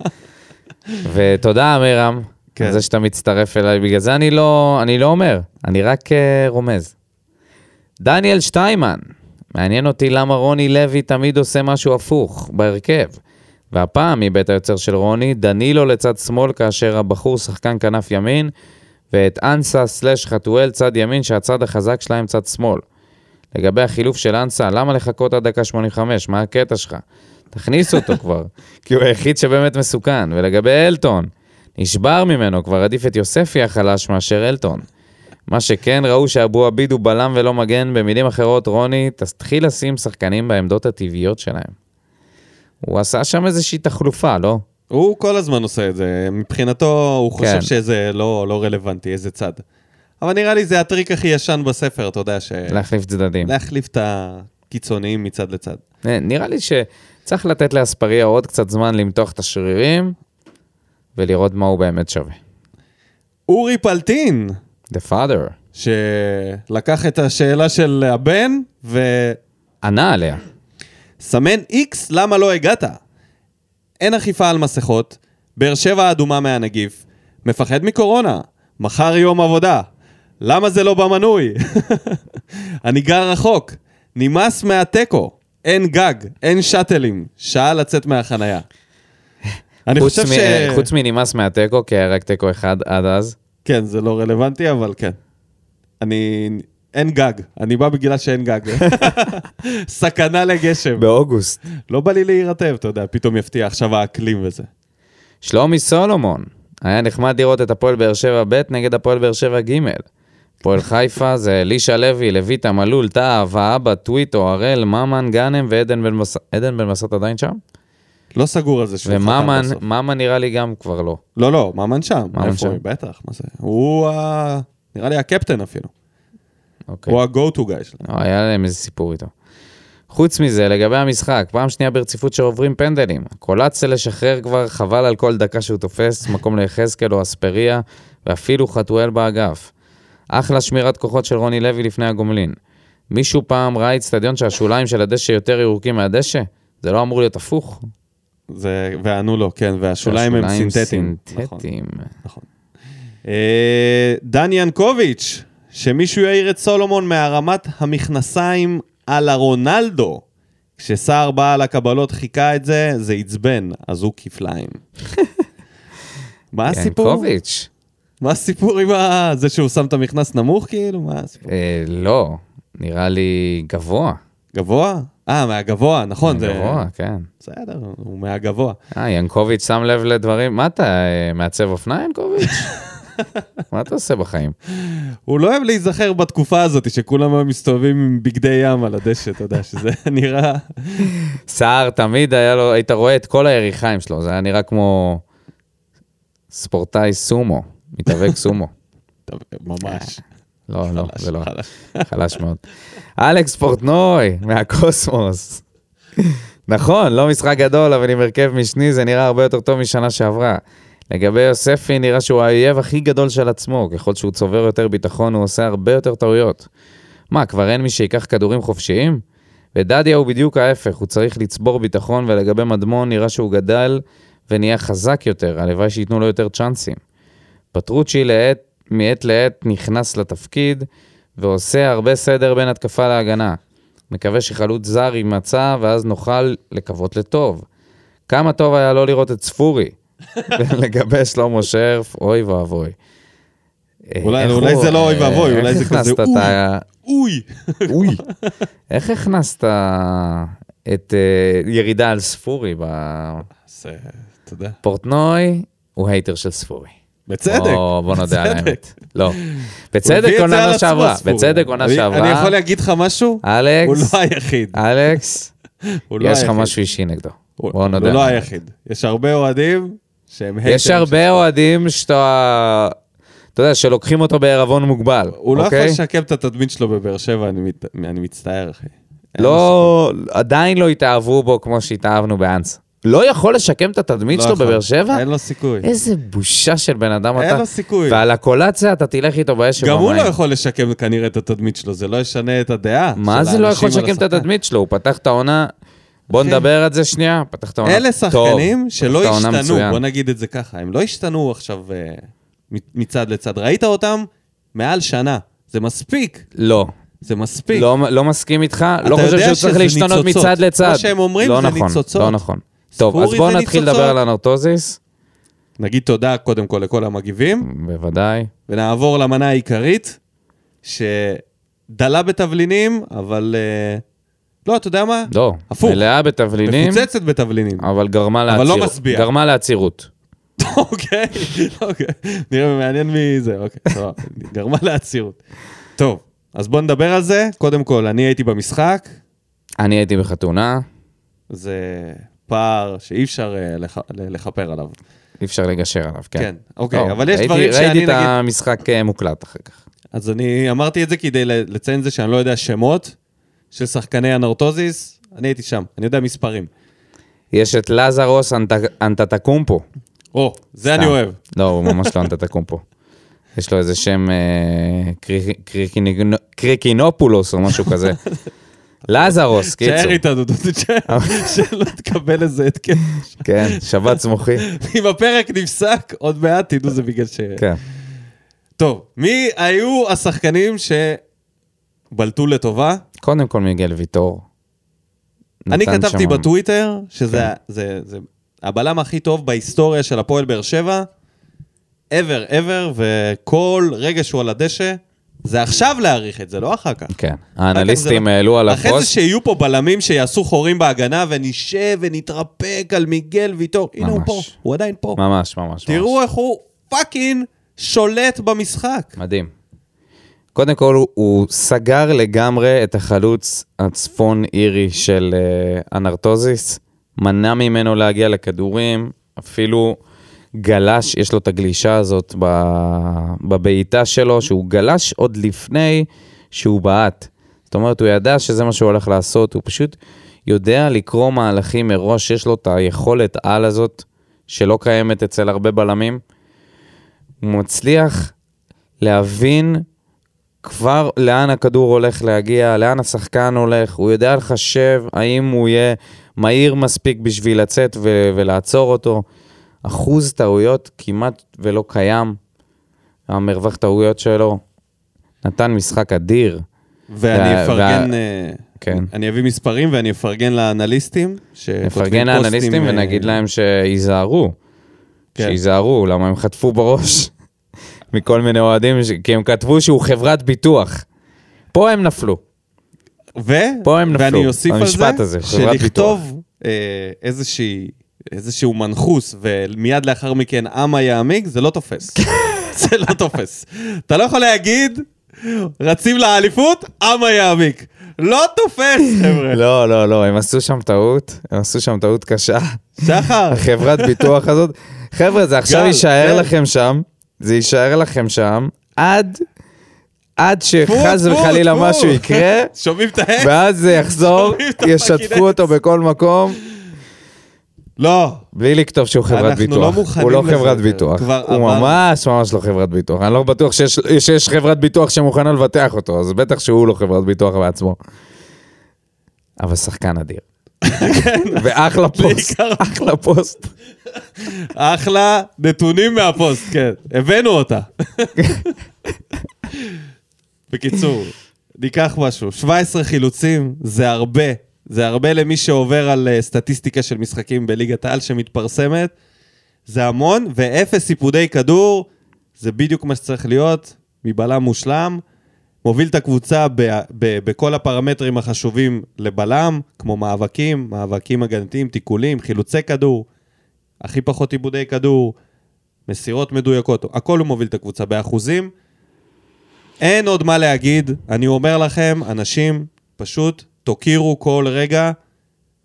ותודה, אמירם,
כן.
על זה שאתה מצטרף אליי. בגלל זה אני לא, אני לא אומר, אני רק אה, רומז. דניאל שטיימן, מעניין אותי למה רוני לוי תמיד עושה משהו הפוך בהרכב. והפעם מבית היוצר של רוני, דנילו לצד שמאל כאשר הבחור שחקן כנף ימין, ואת אנסה סלאש חתואל צד ימין שהצד החזק שלהם צד שמאל. לגבי החילוף של אנסה, למה לחכות עד דקה 85? מה הקטע שלך? תכניס אותו כבר, כי הוא היחיד שבאמת מסוכן. ולגבי אלטון, נשבר ממנו, כבר עדיף את יוספי החלש מאשר אלטון. מה שכן, ראו שאבו עביד הוא בלם ולא מגן, במילים אחרות, רוני, תתחיל לשים שחקנים בעמדות הטבעיות שלהם. הוא עשה שם איזושהי תחלופה, לא?
הוא כל הזמן עושה את זה, מבחינתו הוא חושב
כן.
שזה לא, לא רלוונטי, איזה צד. אבל נראה לי זה הטריק הכי ישן בספר, אתה יודע, ש...
להחליף צדדים.
להחליף את הקיצוניים מצד לצד.
נ- נראה לי שצריך לתת לאספריה עוד קצת זמן למתוח את השרירים ולראות מה הוא באמת שווה.
אורי פלטין,
The father.
שלקח את השאלה של הבן וסמן
ענה עליה.
איקס, למה לא הגעת? אין אכיפה על מסכות, באר שבע אדומה מהנגיף, מפחד מקורונה, מחר יום עבודה, למה זה לא במנוי? אני גר רחוק, נמאס מהתיקו, אין גג, אין שאטלים, שעה לצאת מהחנייה. אני
חוץ
חושב
מ-
ש...
חוץ מנמאס מהתיקו, כי היה רק תיקו אחד עד אז,
כן, זה לא רלוונטי, אבל כן. אני... אין גג. אני בא בגלל שאין גג. סכנה לגשם.
באוגוסט.
לא בא לי להירטב, אתה יודע, פתאום יפתיע עכשיו האקלים וזה.
שלומי סולומון, היה נחמד לראות את הפועל באר שבע ב' נגד הפועל באר שבע ג'. הפועל חיפה זה אלישע לוי, לויטה, מלול, טאה, והבה, טוויטו, הראל, ממן, גאנם ועדן בן מסע. עדן בן מסעת עדיין שם?
לא סגור על זה שהוא
וממן,
חתם בסוף.
ממן נראה לי גם כבר לא.
לא, לא, ממן שם.
ממן
איפה
שם.
הוא? בטח, מה זה? הוא ה... נראה לי הקפטן אפילו.
אוקיי.
הוא ה-go to guy שלהם.
לא, היה להם איזה סיפור איתו. חוץ מזה, לגבי המשחק, פעם שנייה ברציפות שעוברים פנדלים. קולציה לשחרר כבר, חבל על כל דקה שהוא תופס, מקום ליחזקאל או אספריה, ואפילו חתואל באגף. אחלה שמירת כוחות של רוני לוי לפני הגומלין. מישהו פעם ראה אצטדיון שהשוליים של הדשא יותר ירוקים מהדשא? זה לא אמור להיות הפוך.
זה... וענו לו, כן, והשוליים הם
השוליים
סינתטיים. נכון,
סינתטיים.
נכון. אה, דן ינקוביץ', שמישהו יעיר את סולומון מהרמת המכנסיים על הרונלדו. כשסער בא על הקבלות חיכה את זה, זה עצבן, אז הוא כפליים. מה הסיפור?
ינקוביץ'.
מה הסיפור עם ה... זה שהוא שם את המכנס נמוך כאילו? מה הסיפור?
אה, לא, נראה לי גבוה.
גבוה? אה, מהגבוה, נכון. זה-
גבוה, כן.
בסדר, הוא מהגבוה.
אה, ינקוביץ' שם לב לדברים, מה אתה, אה, מעצב אופנה, ינקוביץ'? מה אתה עושה בחיים?
הוא לא אוהב להיזכר בתקופה הזאת שכולם היו מסתובבים עם בגדי ים על הדשא, אתה יודע, שזה נראה...
סער תמיד היה לו, היית רואה את כל היריחיים שלו, זה היה נראה כמו ספורטאי סומו, מתאבק סומו.
טוב, ממש.
לא, לא,
אה, חלש,
זה לא,
חלש.
חלש מאוד. אלכס פורטנוי, מהקוסמוס. נכון, לא משחק גדול, אבל עם הרכב משני זה נראה הרבה יותר טוב משנה שעברה. לגבי יוספי, נראה שהוא האויב הכי גדול של עצמו. ככל שהוא צובר יותר ביטחון, הוא עושה הרבה יותר טעויות. מה, כבר אין מי שיקח כדורים חופשיים? ודדיה הוא בדיוק ההפך, הוא צריך לצבור ביטחון, ולגבי מדמון נראה שהוא גדל ונהיה חזק יותר, הלוואי שייתנו לו יותר צ'אנסים. פטרוצ'י לעת, מעת לעת נכנס לתפקיד, ועושה הרבה סדר בין התקפה להגנה. מקווה שחלוץ זר יימצא, ואז נוכל לקוות לטוב. כמה טוב היה לא לראות את ספורי. לגבי שלמה שרף, אוי ואבוי. אה,
אולי-
איך
אולי
הוא-
זה לא אוי ואבוי,
אה,
אולי זה
איך הכנסת
כזה,
את ה-
אוי!
אוי. איך הכנסת את אה, ירידה על ספורי בפורטנוי?
זה, אתה יודע,
הוא הייטר של ספורי.
בצדק.
או, בוא נודה על
בצדק.
האמת. לא.
הוא
בצדק
הביא את זה על
עונה
עצמו,
שעברה.
ספורי.
בצדק עונה
אני-
שעברה.
אני יכול להגיד לך משהו? הוא
אלכס,
לא היחיד.
אלכס,
הוא לא
יש לך
היחיד.
משהו אישי נגדו.
הוא
בוא
הוא
נודה. על
לא
האמת.
היחיד. יש הרבה אוהדים שהם הייטרים.
יש הרבה אוהדים שאתה... אתה יודע, שלוקחים אותו בעירבון מוגבל,
הוא לא יכול
אוקיי?
לשקם את התדמית שלו בבאר שבע, אני מת- אני מצטער, אחי. אין
לא, עדיין לא התאהבו בו כמו שהתאהבנו באנס. לא יכול לשקם את התדמית
לא
שלו
יכול.
בבאר שבע?
אין לו סיכוי.
כן. איזה בושה של בן אדם אתה.
אין לו סיכוי.
ועל הקולציה אתה תלך איתו באש
גם הוא לא
ובמים.
יכול לשקם כנראה את התדמית שלו, זה לא ישנה את הדעה.
מה
של
זה לא
האנשים
יכול
על
לשקם את
השחקן.
התדמית שלו? הוא פתח את העונה... בוא
אחי.
נדבר על זה שנייה. פתח את העונה.
אלה שחקנים
טוב.
שלא
פתח את העונה
השתנו,
מצוין.
בוא נגיד את זה ככה, הם לא השתנו עכשיו אה, מ- מצד לצד. ראית אותם מעל שנה, זה מספיק,
לא.
זה מספיק.
לא, לא מסכים איתך,
אתה
לא חושב
יודע
שהוא צריך
שזה
להשתנות
ניצוצות.
מצד לצד.
מה שהם אומרים
לא
זה
נכון,
ניצוצות.
לא נכון. טוב,
ספורי
אז בואו
זה
נתחיל
ניצוצות.
לדבר על הנרטוזיס,
נגיד תודה קודם כל לכל המגיבים,
בוודאי.
ונעבור למנה העיקרית, שדלה בתבלינים, אבל... אה, לא, אתה יודע מה?
לא, אה.
הפוך.
מלאה בתבלינים,
מפוצצת בתבלינים.
אבל גרמה
אבל לא
לעציר-
משביע.
גרמה לעצירות.
אוקיי, אוקיי. נראה מעניין מי זה, אוקיי. טוב, גרמה לעצירות. טוב, אז בוא נדבר על זה. קודם כל, אני הייתי במשחק,
אני הייתי בחתונה,
זה פער שאי אפשר אה, לח- ל- לכפר עליו.
אי אפשר לגשר עליו, כן.
כן, אוקיי,
לא,
אבל יש
ראיתי-
דברים שאני
ראיתי את
נגיד...
המשחק אה, מוקלט אחר כך.
אז אני אמרתי את זה כדי ל- לציין את זה שאני לא יודע שמות של שחקני הנרטוזיס, אני הייתי שם, אני יודע מספרים.
יש את לזרוס אנט- אנטטקומפו.
או, זה אני
סתם.
אוהב.
לא, הוא ממש לא אנטטקומפו. יש לו איזה שם אה, קרי- קריקיניגנו- קריקינופולוס או משהו כזה. לזרוס,
תשאר
קיצור.
איתה, דודו, תשאר, שלא תקבל איזה התקף.
כן, שבץ מוחי.
אם הפרק נפסק, עוד מעט תדעו זה בגלל ש...
כן.
טוב, מי היו השחקנים שבלטו לטובה?
קודם כל מיגל ויטור.
אני
נתן כן.
כתבתי
שם-
בטוויטר שזה ה- זה- זה הבלם הכי טוב בהיסטוריה של הפועל באר שבע. ever ever, וכל רגע שהוא על הדשא, זה עכשיו להעריך את זה, לא אחר כך.
כן,
רק
האנליסטים
זה לא-
העלו עליו
אחרי זה
פוסט.
שיהיו פה בלמים שיעשו חורים בהגנה ונשב ונתרפק על מיגל ויטור. הנה הוא
ממש.
פה, הוא עדיין פה.
ממש, ממש. ממש.
תראו איך הוא פאקינג שולט במשחק.
מדהים. קודם כל, הוא- הוא סגר לגמרי את החלוץ הצפון אירי של אה, אנרטוזיס, מנע ממנו להגיע לכדורים, אפילו גלש, יש לו את הגלישה הזאת ב- בבעיטה שלו, שהוא גלש עוד לפני שהוא בעט. זאת אומרת, הוא ידע שזה מה שהוא הולך לעשות, הוא פשוט יודע לקרוא מהלכים מראש, יש לו את היכולת על הזאת, שלא קיימת אצל הרבה בלמים. הוא מצליח להבין כבר לאן הכדור הולך להגיע, לאן השחקן הולך, הוא יודע לחשב האם הוא יהיה מהיר מספיק בשביל לצאת ו- ולעצור אותו. אחוז טעויות כמעט ולא קיים, המרווח טעויות שלו. נתן משחק אדיר.
ואני
וה-
אפרגן,
וה-
אה,
כן.
אני אביא מספרים ואני אפרגן לאנליסטים. שכותבים
נפרגן לאנליסטים
פוסטים, אה,
ונגיד להם שייזהרו,
כן.
שייזהרו, למה הם חטפו בראש מכל מיני אוהדים, ש- כי הם כתבו שהוא חברת ביטוח. פה הם נפלו.
ו...
פה הם נפלו,
ואני אוסיף על זה,
המשפט הזה, חברת
שלכתוב אה, איזושהי... איזשהו מנחוס, ומיד לאחר מכן אמה יעמיק, זה לא תופס.
כן.
זה לא תופס. אתה לא יכול להגיד, רצים לאליפות, אמה יעמיק. לא תופס, חבר'ה.
לא, לא, לא, הם עשו שם טעות, הם עשו שם טעות קשה.
שחר,
החברת ביטוח הזאת, חבר'ה, זה עכשיו
גל, גל.
יישאר לכם שם, זה יישאר לכם שם עד, עד
טפו,
שחס
טפו,
וחלילה
טפו.
משהו יקרה,
שומעים את העץ?
ואז זה יחזור,
שומעים את הפקיד
ישתפו אותו בכל מקום.
לא,
בלי לכתוב שהוא חברת
אנחנו
ביטוח.
לא מוכנים
הוא לא
לזה
חברת
יותר.
ביטוח.
כבר
הוא
עבר.
ממש ממש לא חברת ביטוח. אני לא בטוח שיש, שיש חברת ביטוח שמוכנה לבטח אותו, אז בטח שהוא לא חברת ביטוח בעצמו. אבל שחקן אדיר. ואחלה פוסט,
בעיקר לא.
אחלה פוסט.
אחלה נתונים מהפוסט, כן. הבאנו אותה. בקיצור, ניקח משהו. 17 חילוצים, זה הרבה. זה הרבה למי שעובר על אה, סטטיסטיקה של משחקים בליגת העל שמתפרסמת. זה המון, ואפס איפודי כדור, זה בדיוק מה שצריך להיות, מבלם מושלם. מוביל את הקבוצה ב- ב- בכל הפרמטרים החשובים לבלם, כמו מאבקים, מאבקים הגנתיים, תיקולים, חילוצי כדור, הכי פחות עיבודי כדור, מסירות מדויקות, הכל הוא מוביל את הקבוצה באחוזים. אין עוד מה להגיד, אני אומר לכם, אנשים, פשוט תוקירו כל רגע,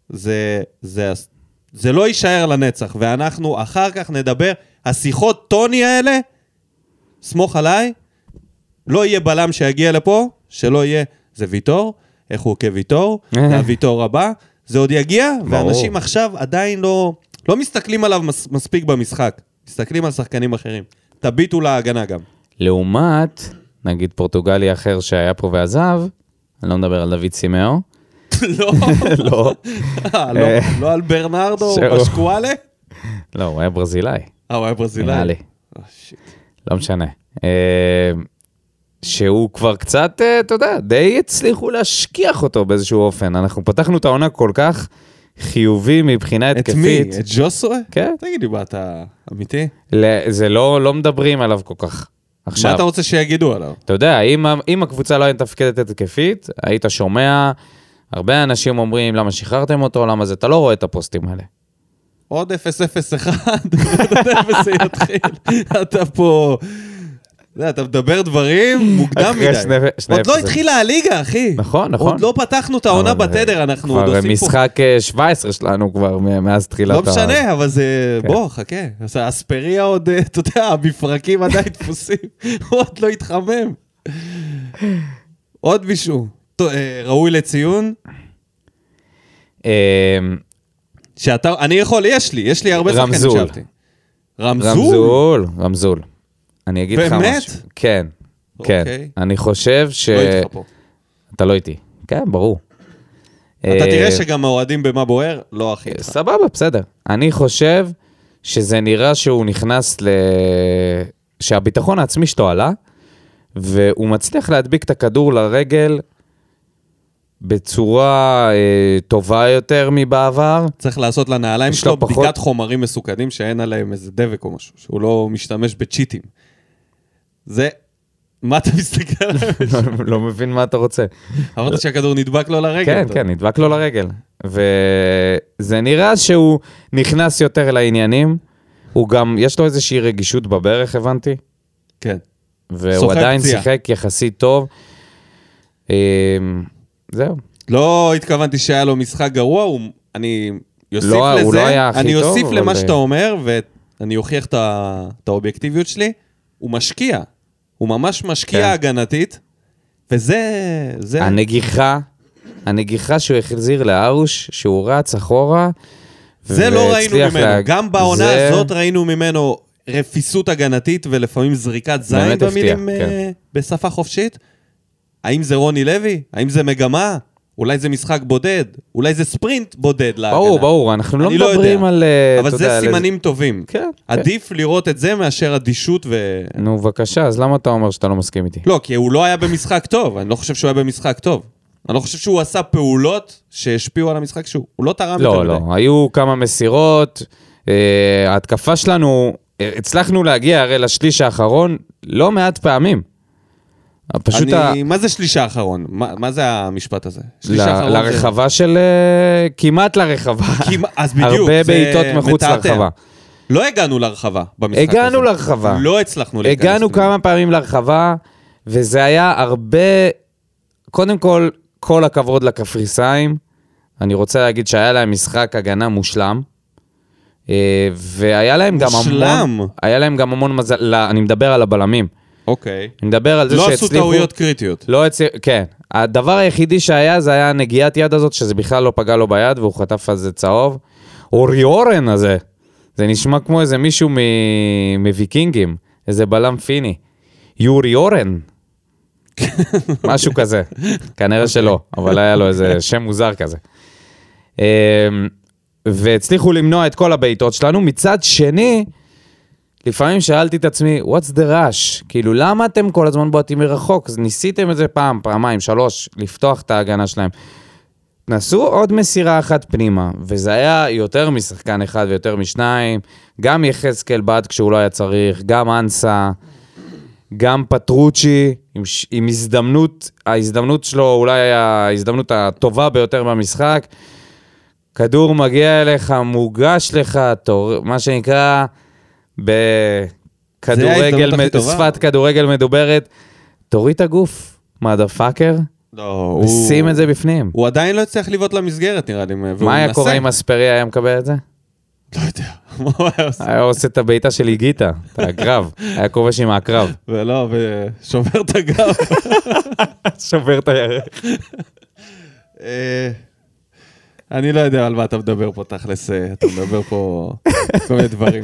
זה, זה, זה לא יישאר לנצח, ואנחנו אחר כך נדבר. השיחות טוני האלה, סמוך עליי, לא יהיה בלם שיגיע לפה, שלא יהיה, זה ויטור, איך הוא כוויטור, זה הוויטור הבא, זה עוד יגיע,
ברור.
ואנשים עכשיו עדיין לא, לא מסתכלים עליו מס, מספיק במשחק, מסתכלים על שחקנים אחרים. תביטו להגנה גם.
לעומת, נגיד פורטוגלי אחר שהיה פה ועזב, אני לא מדבר על דוד סימאו.
לא,
לא.
אה, לא, לא על ברנרדו או
זהו.
פשקואלה?
לא, הוא היה ברזילאי.
אה, הוא היה ברזילאי.
נראה לי.
אה, שיט.
לא משנה. אה, שהוא כבר קצת, אה, אתה יודע, די הצליחו להשכיח אותו באיזשהו אופן. אנחנו פתחנו את העונה כל כך חיובי מבחינה
את מי?
התקפית.
את ג'וסווה?
כן.
תגיד לי, מה אתה אמיתי?
ל- זה לא, לא מדברים עליו כל כך. עכשיו,
מה אתה רוצה שיגידו עליו?
אתה יודע, אם, ה- אם הקבוצה לא הייתה מתפקדת התקפית, היית שומע, הרבה אנשים אומרים, למה שחררתם אותו, למה זה, אתה לא רואה את הפוסטים האלה.
עוד 0-0-1, אתה יודע איפה זה יתחיל. אתה פה... אתה יודע, אתה מדבר דברים מוקדם
אחרי שני-
מדי.
שני
עוד לא
אפס.
התחילה הליגה, אחי.
נכון, נכון.
עוד לא פתחנו את העונה
אבל,
בתדר,
אה,
אנחנו עוד עושים פה...
כבר משחק אה, 17 שלנו כבר מ- מאז תחילת
לא
ה-
משנה, אבל זה...
כן.
בוא, חכה. אז האספריה עוד, אה, אתה יודע, המפרקים עדיין דפוסים. הוא עוד לא התחמם. עוד מישהו. טוב, אה, ראוי לציון,
אה,
שאתה... אני יכול, יש לי, יש לי הרבה שחקנים
רמזול.
שאהבתי. רמזול.
רמזול, רמזול. אני אגיד לך משהו.
באמת?
כן, כן.
אוקיי.
אני חושב ש...
לא איתך פה.
אתה לא איתי. כן, ברור. אה,
אתה תראה שגם האוהדים במה בוער, לא הכי איתך.
סבבה, בסדר. אני חושב שזה נראה שהוא נכנס ל... שהביטחון העצמי שלו עלה, והוא מצליח להדביק את הכדור לרגל בצורה אה, טובה יותר מבעבר.
צריך לעשות לנעליים
יש
שלו
לו פחות-
בדיקת חומרים מסוכנים שאין עליהם איזה דבק או משהו, שהוא לא משתמש בצ'יטים. זה... מה אתה מסתכל עליהם?
לא מבין מה אתה רוצה.
אמרת שהכדור נדבק לו לרגל.
כן,
אתה-
כן, נדבק לו לרגל. וזה נראה שהוא נכנס יותר לעניינים. הוא גם, יש לו איזושהי רגישות בברך, הבנתי.
כן.
והוא
סוחב
עדיין
פציעה.
שיחק יחסית טוב. אה, זהו.
לא התכוונתי שהיה לו משחק גרוע, הוא... אני אוסיף
לא,
לזה,
הוא לא היה הכי
אני
טוב,
אוסיף
אבל אה,
למה
זה-
שאתה אומר, ואני אוכיח את, ה... את האובייקטיביות שלי, הוא משקיע. הוא ממש משקיע
כן.
הגנתית, וזה... זה...
הנגיחה, הנגיחה שהוא החזיר לארוש, שהוא רץ אחורה.
זה לא ראינו
והצליח
ממנו.
לה-
גם בעונה
זה-
הזאת ראינו ממנו רפיסות הגנתית ולפעמים זריקת זין
באמת הפתיע, כן.
במילים אה, בשפה חופשית. האם זה רוני לוי? האם זה מגמה? אולי זה משחק בודד? אולי זה ספרינט בודד להגנה?
ברור, ברור, אנחנו לא
אני לא
מדברים
יודע.
על... אה,
אבל
אתה יודע,
זה
על
סימנים טובים.
כן, כן.
עדיף לראות את זה מאשר אדישות ו...
נו, בבקשה, אז למה אתה אומר שאתה לא מסכים איתי?
לא, כי הוא לא היה במשחק טוב, אני לא חושב שהוא היה במשחק טוב. אני לא חושב שהוא עשה פעולות שהשפיעו על המשחק שהוא. הוא לא תרם יותר
לא,
מדי.
לא, היו כמה מסירות, אה, ההתקפה שלנו, אה, הצלחנו להגיע הרי לשליש האחרון לא מעט פעמים. אה, פשוט ה...
אני... מה זה שליש האחרון? מה, מה זה המשפט הזה? שליש
ל...
האחרון
לרחבה של... אה, כמעט לרחבה.
זה... כמעט, אז בדיוק.
הרבה
זה
בעיטות מחוץ
מתעתע.
לרחבה.
לא הגענו לרחבה במשחק הזה.
הגענו לרחבה.
לא הצלחנו להיכנס.
הגענו
פנימה.
כמה פעמים לרחבה, וזה היה הרבה... קודם כל, כל הכבוד לקפריסאים. אני רוצה להגיד שהיה להם משחק הגנה מושלם. אה, והיה להם גם המון...
מושלם.
היה להם גם המון מזל... לא, אני מדבר על הבלמים.
אוקיי.
אני מדבר על זה
לא
שהצליחו...
עשו טעויות קריטיות.
לא הצליח... כן. הדבר היחידי שהיה זה היה הנגיעת יד הזאת, שזה בכלל לא פגע לו ביד, והוא חטף על זה צהוב. אורי אורן הזה. זה נשמע כמו איזה מישהו מ... מוויקינגים, איזה בלם פיני. יורי אורן. משהו כזה. כנראה שלא, אבל היה לו איזה שם מוזר כזה. אמ, והצליחו למנוע את כל הבעיטות שלנו. מצד שני, לפעמים שאלתי את עצמי, what's the rush? כאילו, למה אתם כל הזמן בועטים מרחוק? אז ניסיתם את זה פעם, פעמיים, שלוש, לפתוח את ההגנה שלהם. נסו עוד מסירה אחת פנימה, וזה היה יותר משחקן אחד ויותר משניים. גם יחזקאל בעט כשהוא לא היה צריך, גם אנסה, גם פטרוצ'י, עם, ש- עם הזדמנות, ההזדמנות שלו אולי ההזדמנות הטובה ביותר במשחק. כדור מגיע אליך, מוגש לך, תור... מה שנקרא,
זה ההזדמנות
בכדורגל,
הכי
מד-
טובה.
שפת כדורגל מדוברת, תוריד את הגוף, מה דה פאקר,
לא, הוא...
ושים את זה בפנים.
הוא עדיין לא הצליח לבעוט למסגרת, נראה לי. והוא
מה היה
מנסה.
קורה אם אספרי היה מקבל את זה?
לא יודע. מה הוא היה עושה?
היה עושה את הבעיטה של איגיטה, את הקרב, היה כובש עם הקרב.
ולא, ושובר את הגב.
שובר את הירך.
אה, אני לא יודע על מה אתה מדבר פה, תכלס. אה, אתה מדבר פה כל מיני דברים.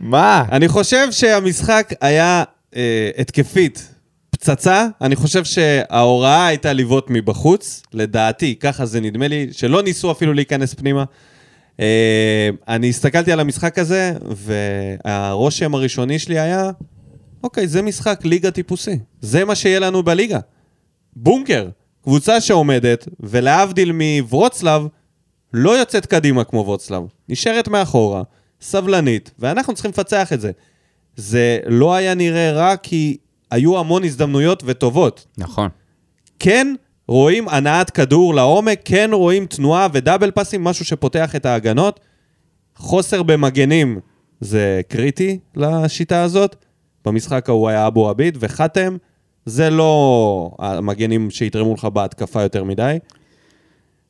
מה?
אני חושב שהמשחק היה אה, התקפית פצצה. אני חושב שההוראה הייתה לבעוט מבחוץ, לדעתי, ככה זה נדמה לי, שלא ניסו אפילו להיכנס פנימה. אה, אני הסתכלתי על המשחק הזה, והרושם הראשוני שלי היה, אוקיי, זה משחק ליגה טיפוסי. זה מה שיהיה לנו בליגה. בונקר, קבוצה שעומדת, ולהבדיל מוורצלב, לא יוצאת קדימה כמו וורצלב. נשארת מאחורה, סבלנית, ואנחנו צריכים לפצח את זה. זה לא היה נראה רע כי היו המון הזדמנויות וטובות.
נכון.
כן רואים הנעת כדור לעומק, כן רואים תנועה ודאבל פאסים, משהו שפותח את ההגנות. חוסר במגנים זה קריטי לשיטה הזאת. במשחק ההוא היה אבו עביד וחתם. זה לא המגנים שיתרמו לך בהתקפה יותר מדי.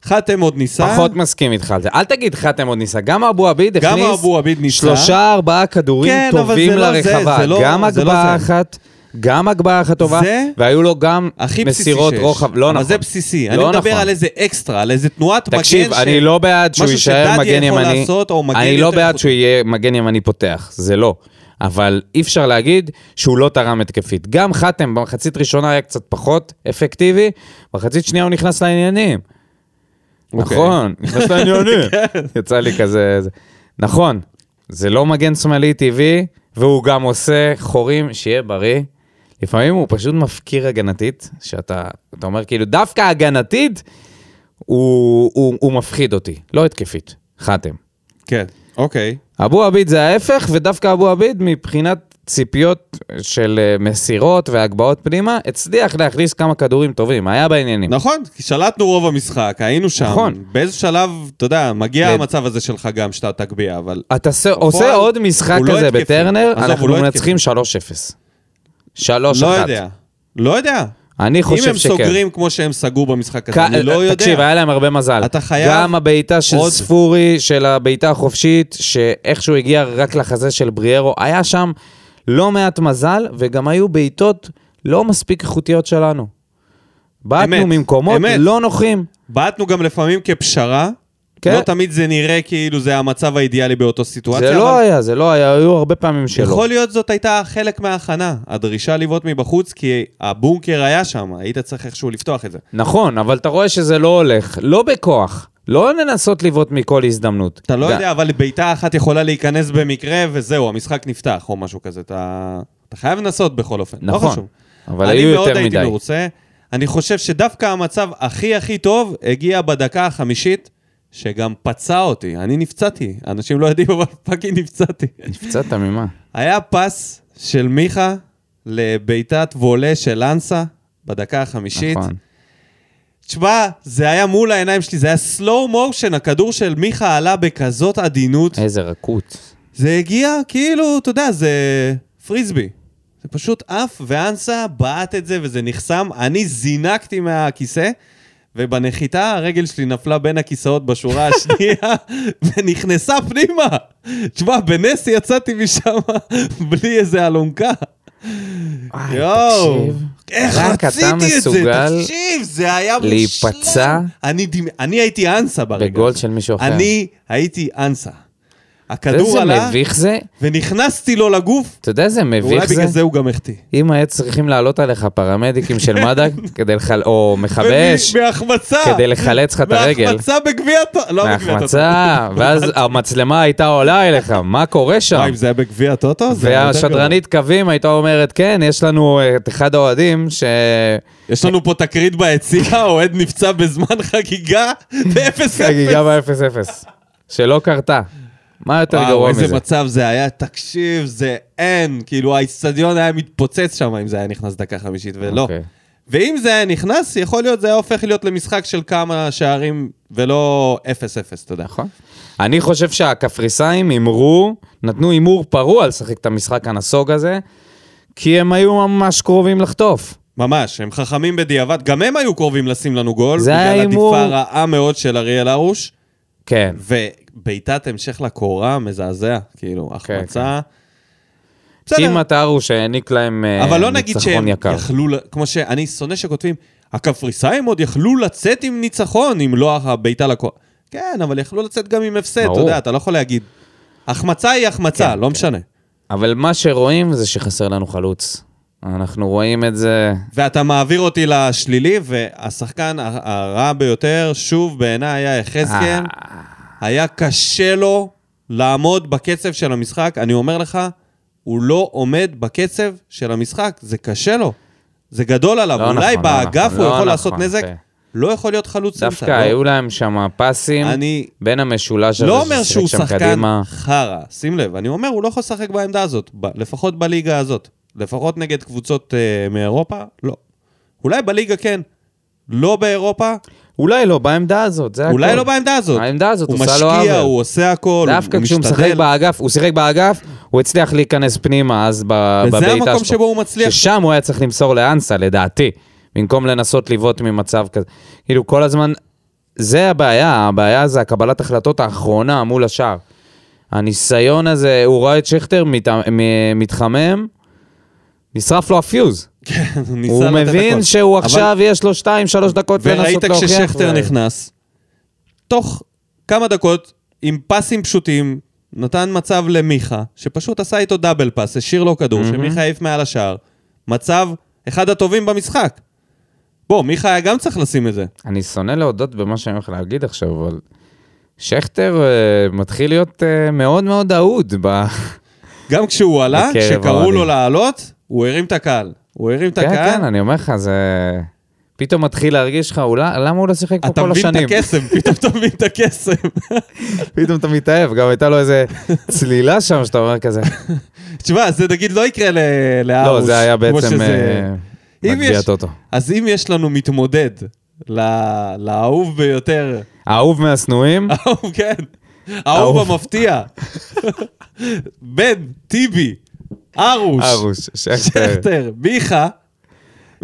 חתם עוד ניסה.
פחות מסכים איתך על זה. אל תגיד חתם עוד ניסה, גם אבו עביד הכניס...
גם אבו עביד ניסה.
שלושה, ארבעה כדורים
כן, אבל
טובים
זה לא זה,
לרחבה.
זה לא-
גם
זה לא זה.
הגבהה אחת, גם הגבהה אחת טובה,
זה
והיו לו גם
הכי בסיסי
מסירות
שיש.
רוחב. לא
אבל
נכון.
זה בסיסי. אני
לא
מדבר
נכון.
על איזה אקסטרה, על איזה תנועת מגן.
תקשיב,
ש-
אני לא בעד שהוא
משהו
יישאר
שדדי
מגן
יכול
ימני.
לעשות, או מגן
אני לא
יותר
בעד
איכותי.
שהוא יהיה מגן ימני פותח, זה לא. אבל אי אפשר להגיד שהוא לא תרם התקפית. גם חתם במחצית ראשונה היה קצת פחות אפקטיבי, במחצית שנייה הוא נכנס לעניינים.
אוקיי.
נכון, נכנס לעניינים. כן. יצא לי כזה... זה. נכון, זה לא מגן שמאלי טבעי, והוא גם עושה חורים, שיהיה בריא. לפעמים הוא פשוט מפקיר הגנתית, שאתה אתה אומר כאילו, דווקא הגנתית, הוא, הוא, הוא מפחיד אותי, לא התקפית, חתם.
כן, אוקיי.
אבו עביד זה ההפך, ודווקא אבו עביד מבחינת ציפיות של אה, מסירות והגבהות פנימה, הצליח להכניס כמה כדורים טובים, היה בעניינים.
נכון, כי שלטנו רוב המשחק, היינו שם.
נכון. כן.
באיזה שלב, אתה יודע, מגיע
ל-
המצב הזה שלך גם, שאתה תגביה, אבל...
אתה עושה- עושה עוד משחק
נכון? הוא לא
כזה
התקפי.
בטרנר,
עזוב,
אנחנו
הוא לא
מנצחים 3-0. 3-1.
לא יודע. לא יודע.
אני
אם
חושב
הם
שכן.
סוגרים כמו שהם סגרו במשחק הזה,
כ-
אני לא יודע.
תקשיב, אה- היה להם הרבה מזל.
אתה חייב
גם הבעיטה של
עוד.
ספורי, של הבעיטה החופשית, שאיכשהו הגיע רק לחזה של בריארו, היה שם לא מעט מזל, וגם היו בעיטות לא מספיק איכותיות שלנו.
אמת,
בעטנו ממקומות
אמת.
לא נוחים.
בעטנו גם לפעמים כפשרה.
כן.
לא תמיד זה נראה כאילו זה המצב האידיאלי באותו סיטואציה.
זה לא
אבל
היה, זה לא היה, היו הרבה פעמים שלא.
יכול להיות זאת הייתה חלק מההכנה, הדרישה לבעוט מבחוץ, כי הבונקר היה שם, היית צריך איכשהו לפתוח את זה.
נכון, אבל אתה רואה שזה לא הולך, לא בכוח. לא לנסות לבעוט מכל הזדמנות.
אתה לא
גם-
יודע, אבל בעיטה אחת יכולה להיכנס במקרה, וזהו, המשחק נפתח, או משהו כזה. אתה, אתה חייב לנסות בכל אופן, לא
נכון,
חשוב.
אבל היו
אני מאוד
יותר
הייתי
מדי.
מרוצה. אני חושב שדווקא המצב הכי הכי טוב הגיע בדקה החמישית, שגם פצע אותי. אני נפצעתי, אנשים לא יודעים, אבל פאקינג נפצעתי.
נפצעת ממה?
היה פס של מיכה לבעיטת וולה של אנסה בדקה החמישית.
נכון.
תשמע, זה היה מול העיניים שלי, זה היה slow motion, הכדור של מיכה עלה בכזאת עדינות.
איזה רכות.
זה הגיע כאילו, אתה יודע, זה פריסבי. זה פשוט עף, ואנסה בעט את זה וזה נחסם. אני זינקתי מהכיסא, ובנחיתה הרגל שלי נפלה בין הכיסאות בשורה השנייה, ונכנסה פנימה. תשמע, בנס יצאתי משם בלי איזה אלונקה.
וואי,
יואו,
אה, תקשיב.
איך
רק אתה
רציתי את זה,
מסוגל
תקשיב, זה היה מושלם.
להיפצע?
אני דמ- אני הייתי אנסה ברגע הזה.
בגול של מישהו אחר.
אני הייתי אנסה.
אתה יודע
הכדור
איזה
עלה,
מביך זה?
ונכנסתי לו לגוף,
אתה יודע איזה
ואולי
מביך זה?
בגלל זה הוא גם החטיא.
אם היה צריכים לעלות עליך פרמדיקים של מד"א, כדי לח... או מכבי אש,
ומ- מהחמצה.
כדי לחלץ לך את הרגל.
מהחמצה בגביע... הט- לא בגביע הטוטו.
מהחמצה, ואז המצלמה הייתה עולה אליך, מה קורה שם?
וואי, אם זה היה בגביע הטוטו? זה היה יותר גרוע.
והשדרנית קווים הייתה אומרת, כן, יש לנו את אחד האוהדים ש...
יש לנו פה תקרית ביציאה, אוהד נפצע בזמן חגיגה, ואפס
חגיגה ב-0-0, שלא קרתה. מה יותר גרוע
איזה
מזה?
מצב זה היה, תקשיב, זה אין, כאילו האיצטדיון היה מתפוצץ שם אם זה היה נכנס דקה חמישית, ולא.
אוקיי.
ואם זה היה נכנס, יכול להיות זה היה הופך להיות למשחק של כמה שערים, ולא 0-0, אתה יודע.
נכון. אני חושב שהקפריסאים הימרו, נתנו הימור פרוע לשחק את המשחק הנסוג הזה, כי הם היו ממש קרובים לחטוף.
ממש, הם חכמים בדיעבד, גם הם היו קרובים לשים לנו גול,
זה היה
בגלל
הימור.
עדיפה רעה מאוד של אריאל הרוש,
כן.
ובעיטת המשך לקורה מזעזע, כאילו,
כן.
החמצה.
כמעט ארו שהעניק להם אה,
אבל לא נגיד
ניצחון
שהם
יקר.
יכלו, ל- כמו שאני שונא שכותבים, הקפריסאים עוד יכלו לצאת עם ניצחון, אם לא הבעיטה לקורה. כן, אבל יכלו לצאת גם עם הפסד, אתה
ברור. כן,
יודע, אתה לא יכול להגיד. החמצה היא החמצה, לא משנה.
אבל מה שרואים זה שחסר לנו חלוץ. אנחנו רואים את זה...
ואתה מעביר אותי לשלילי, והשחקן ה- הרע ביותר, שוב, בעיניי היה יחזקאל.
אה,
היה קשה לו לעמוד בקצב של המשחק. אני אומר לך, הוא לא עומד בקצב של המשחק, זה קשה לו. זה גדול עליו.
לא
אולי
נכון, לא
באגף
נכון,
הוא
לא
יכול
נכון,
לעשות נזק,
כן.
לא יכול להיות חלוץ אמצע,
דווקא
לא?
היו להם שם פסים
אני
בין המשולש הזה
לא אומר
ששיחק
שהוא
שם
שחקן
קדימה.
חרא, שים לב. אני אומר, הוא לא יכול לשחק בעמדה הזאת, ב- לפחות בליגה הזאת. לפחות נגד קבוצות אה, מאירופה, לא. אולי בליגה כן. לא באירופה,
אולי לא בעמדה הזאת, זה הכול.
אולי לא בעמדה הזאת.
העמדה הזאת
הוא
עושה לו
משקיע,
עוול.
הוא עושה הכל, הוא
דווקא כשהוא משחק
משתדל.
באגף, הוא שיחק באגף, הוא הצליח להיכנס פנימה אז ב- בבעיטה
וזה המקום שבו הוא מצליח.
ששם הוא היה צריך למסור לאנסה, לדעתי, במקום לנסות לבעוט ממצב כזה. כאילו, כל הזמן, זה הבעיה, הבעיה זה הקבלת החלטות האחרונה מול השאר. הניסיון הזה, הוא רואה את שכטר מת, מ- מתחמם, נשרף לו הפיוז.
כן, הוא ניסה
הוא
לתת הכל.
מבין שהוא
אבל-
עכשיו, יש לו 2-3 דקות
וראית
לנסות להוכיח.
כששכטר
ו-
נכנס, תוך כמה דקות, עם פסים פשוטים, נתן מצב למיכה, שפשוט עשה איתו דאבל פס, השאיר לו כדור, שמיכה העיף מעל השער. מצב אחד הטובים במשחק. בוא, מיכה היה גם צריך לשים את זה.
אני שונא להודות במה שאני הולך להגיד עכשיו, אבל שכטר אה, מתחיל להיות אה, מאוד מאוד אהוד. ב...
גם כשהוא עלה,
בקרב
כשקראו לו
האוהדים.
לעלות, הוא הרים את הקהל. הוא הרים את
כן, כן,
הקהל,
אני אומר לך, זה פתאום מתחיל להרגיש לך, אולי, למה הוא לא שיחק פה
אתה
כל השנים?
מבין את הקסם, פתאום אתה מבין את הקסם.
פתאום אתה מתאהב, גם הייתה לו איזה צלילה שם שאתה אומר כזה.
תשמע, זה נגיד לא יקרה ל- לארוש.
לא, זה היה
כמו
בעצם
שזה-
אה,
אם
מגביע
יש-
טוטו.
אז אם יש לנו מתמודד ל- לאהוב ביותר,
האהוב מהשנואים,
האהוב, כן, האהוב
האהוב.
המפתיע, בן, טיבי, ארוש,
ארוש, כן. שכטר.
שכטר, מיכה.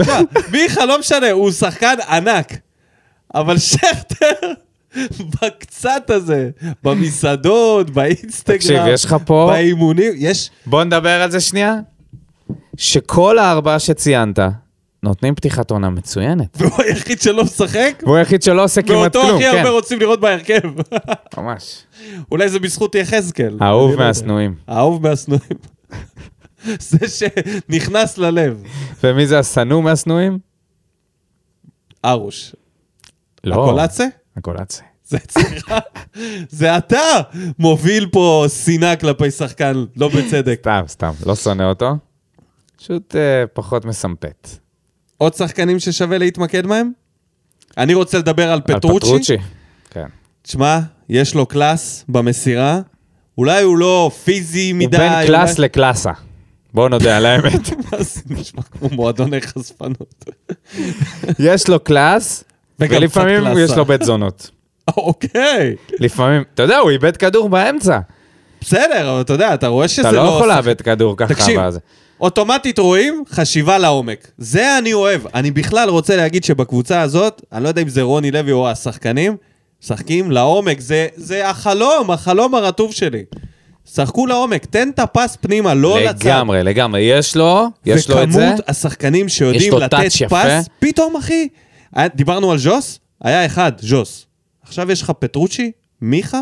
תשמע, מיכה לא משנה, הוא שחקן ענק, אבל שכטר... בקצת הזה, במסעדות, באינסטגרם,
תקשיב, יש לך פה-
באימונים, יש,
בוא נדבר על זה שנייה. שכל הארבעה שציינת, נותנים פתיחת עונה מצוינת.
והוא היחיד שלא משחק,
והוא היחיד שלא עושה כמעט
ואותו
כלום,
הכי
כן.
הרבה רוצים לראות בהרכב.
ממש.
אולי זה בזכות יחזקאל.
האהוב
אני לא יודע.
מהשנואים.
האהוב מהשנואים. זה שנכנס ללב.
ומי זה השנוא מהשנואים?
ארוש.
לא.
הקולאצה?
הקולאצה.
זה אצלך. זה אתה מוביל פה שנאה כלפי שחקן, לא בצדק.
סתם, סתם, לא שונא אותו. פשוט אה, פחות מסמפת.
עוד שחקנים ששווה להתמקד בהם? אני רוצה לדבר על
על
פטרוצ'י.
כן.
תשמע, יש לו קלאס במסירה. אולי הוא לא פיזי
הוא
מדי.
בין קלאס לקלאסה. בואו נודה על האמת.
לקלאס. נשמע כמו מועדוני חשפנות.
יש לו קלאס,
וגם
ולפעמים
קצת
יש
קלאסה.
לו בית זונות.
אוקיי.
לפעמים, אתה יודע, הוא איבד כדור באמצע.
בסדר, אבל אתה יודע, אתה רואה שזה
אתה
לא...
לא יכול
שחק-
לאבד כדור ככה.
תקשיב,
בזה.
אוטומטית רואים חשיבה לעומק. זה אני אוהב. אני בכלל רוצה להגיד שבקבוצה הזאת, אני לא יודע אם זה רוני לוי או השחקנים, משחקים לעומק. זה, זה החלום, החלום הרטוב שלי. שחקו לעומק, תן את הפס פנימה, לא לצד.
לגמרי, לגמרי. יש לו, יש לו את זה.
וכמות השחקנים
יש
שיודעים
לו
לתת
טאץ' יפה.
פס, פתאום, אחי, היה- דיברנו על ז'וס, היה אחד, ז'וס. עכשיו יש לך פטרוצ'י, מיכה,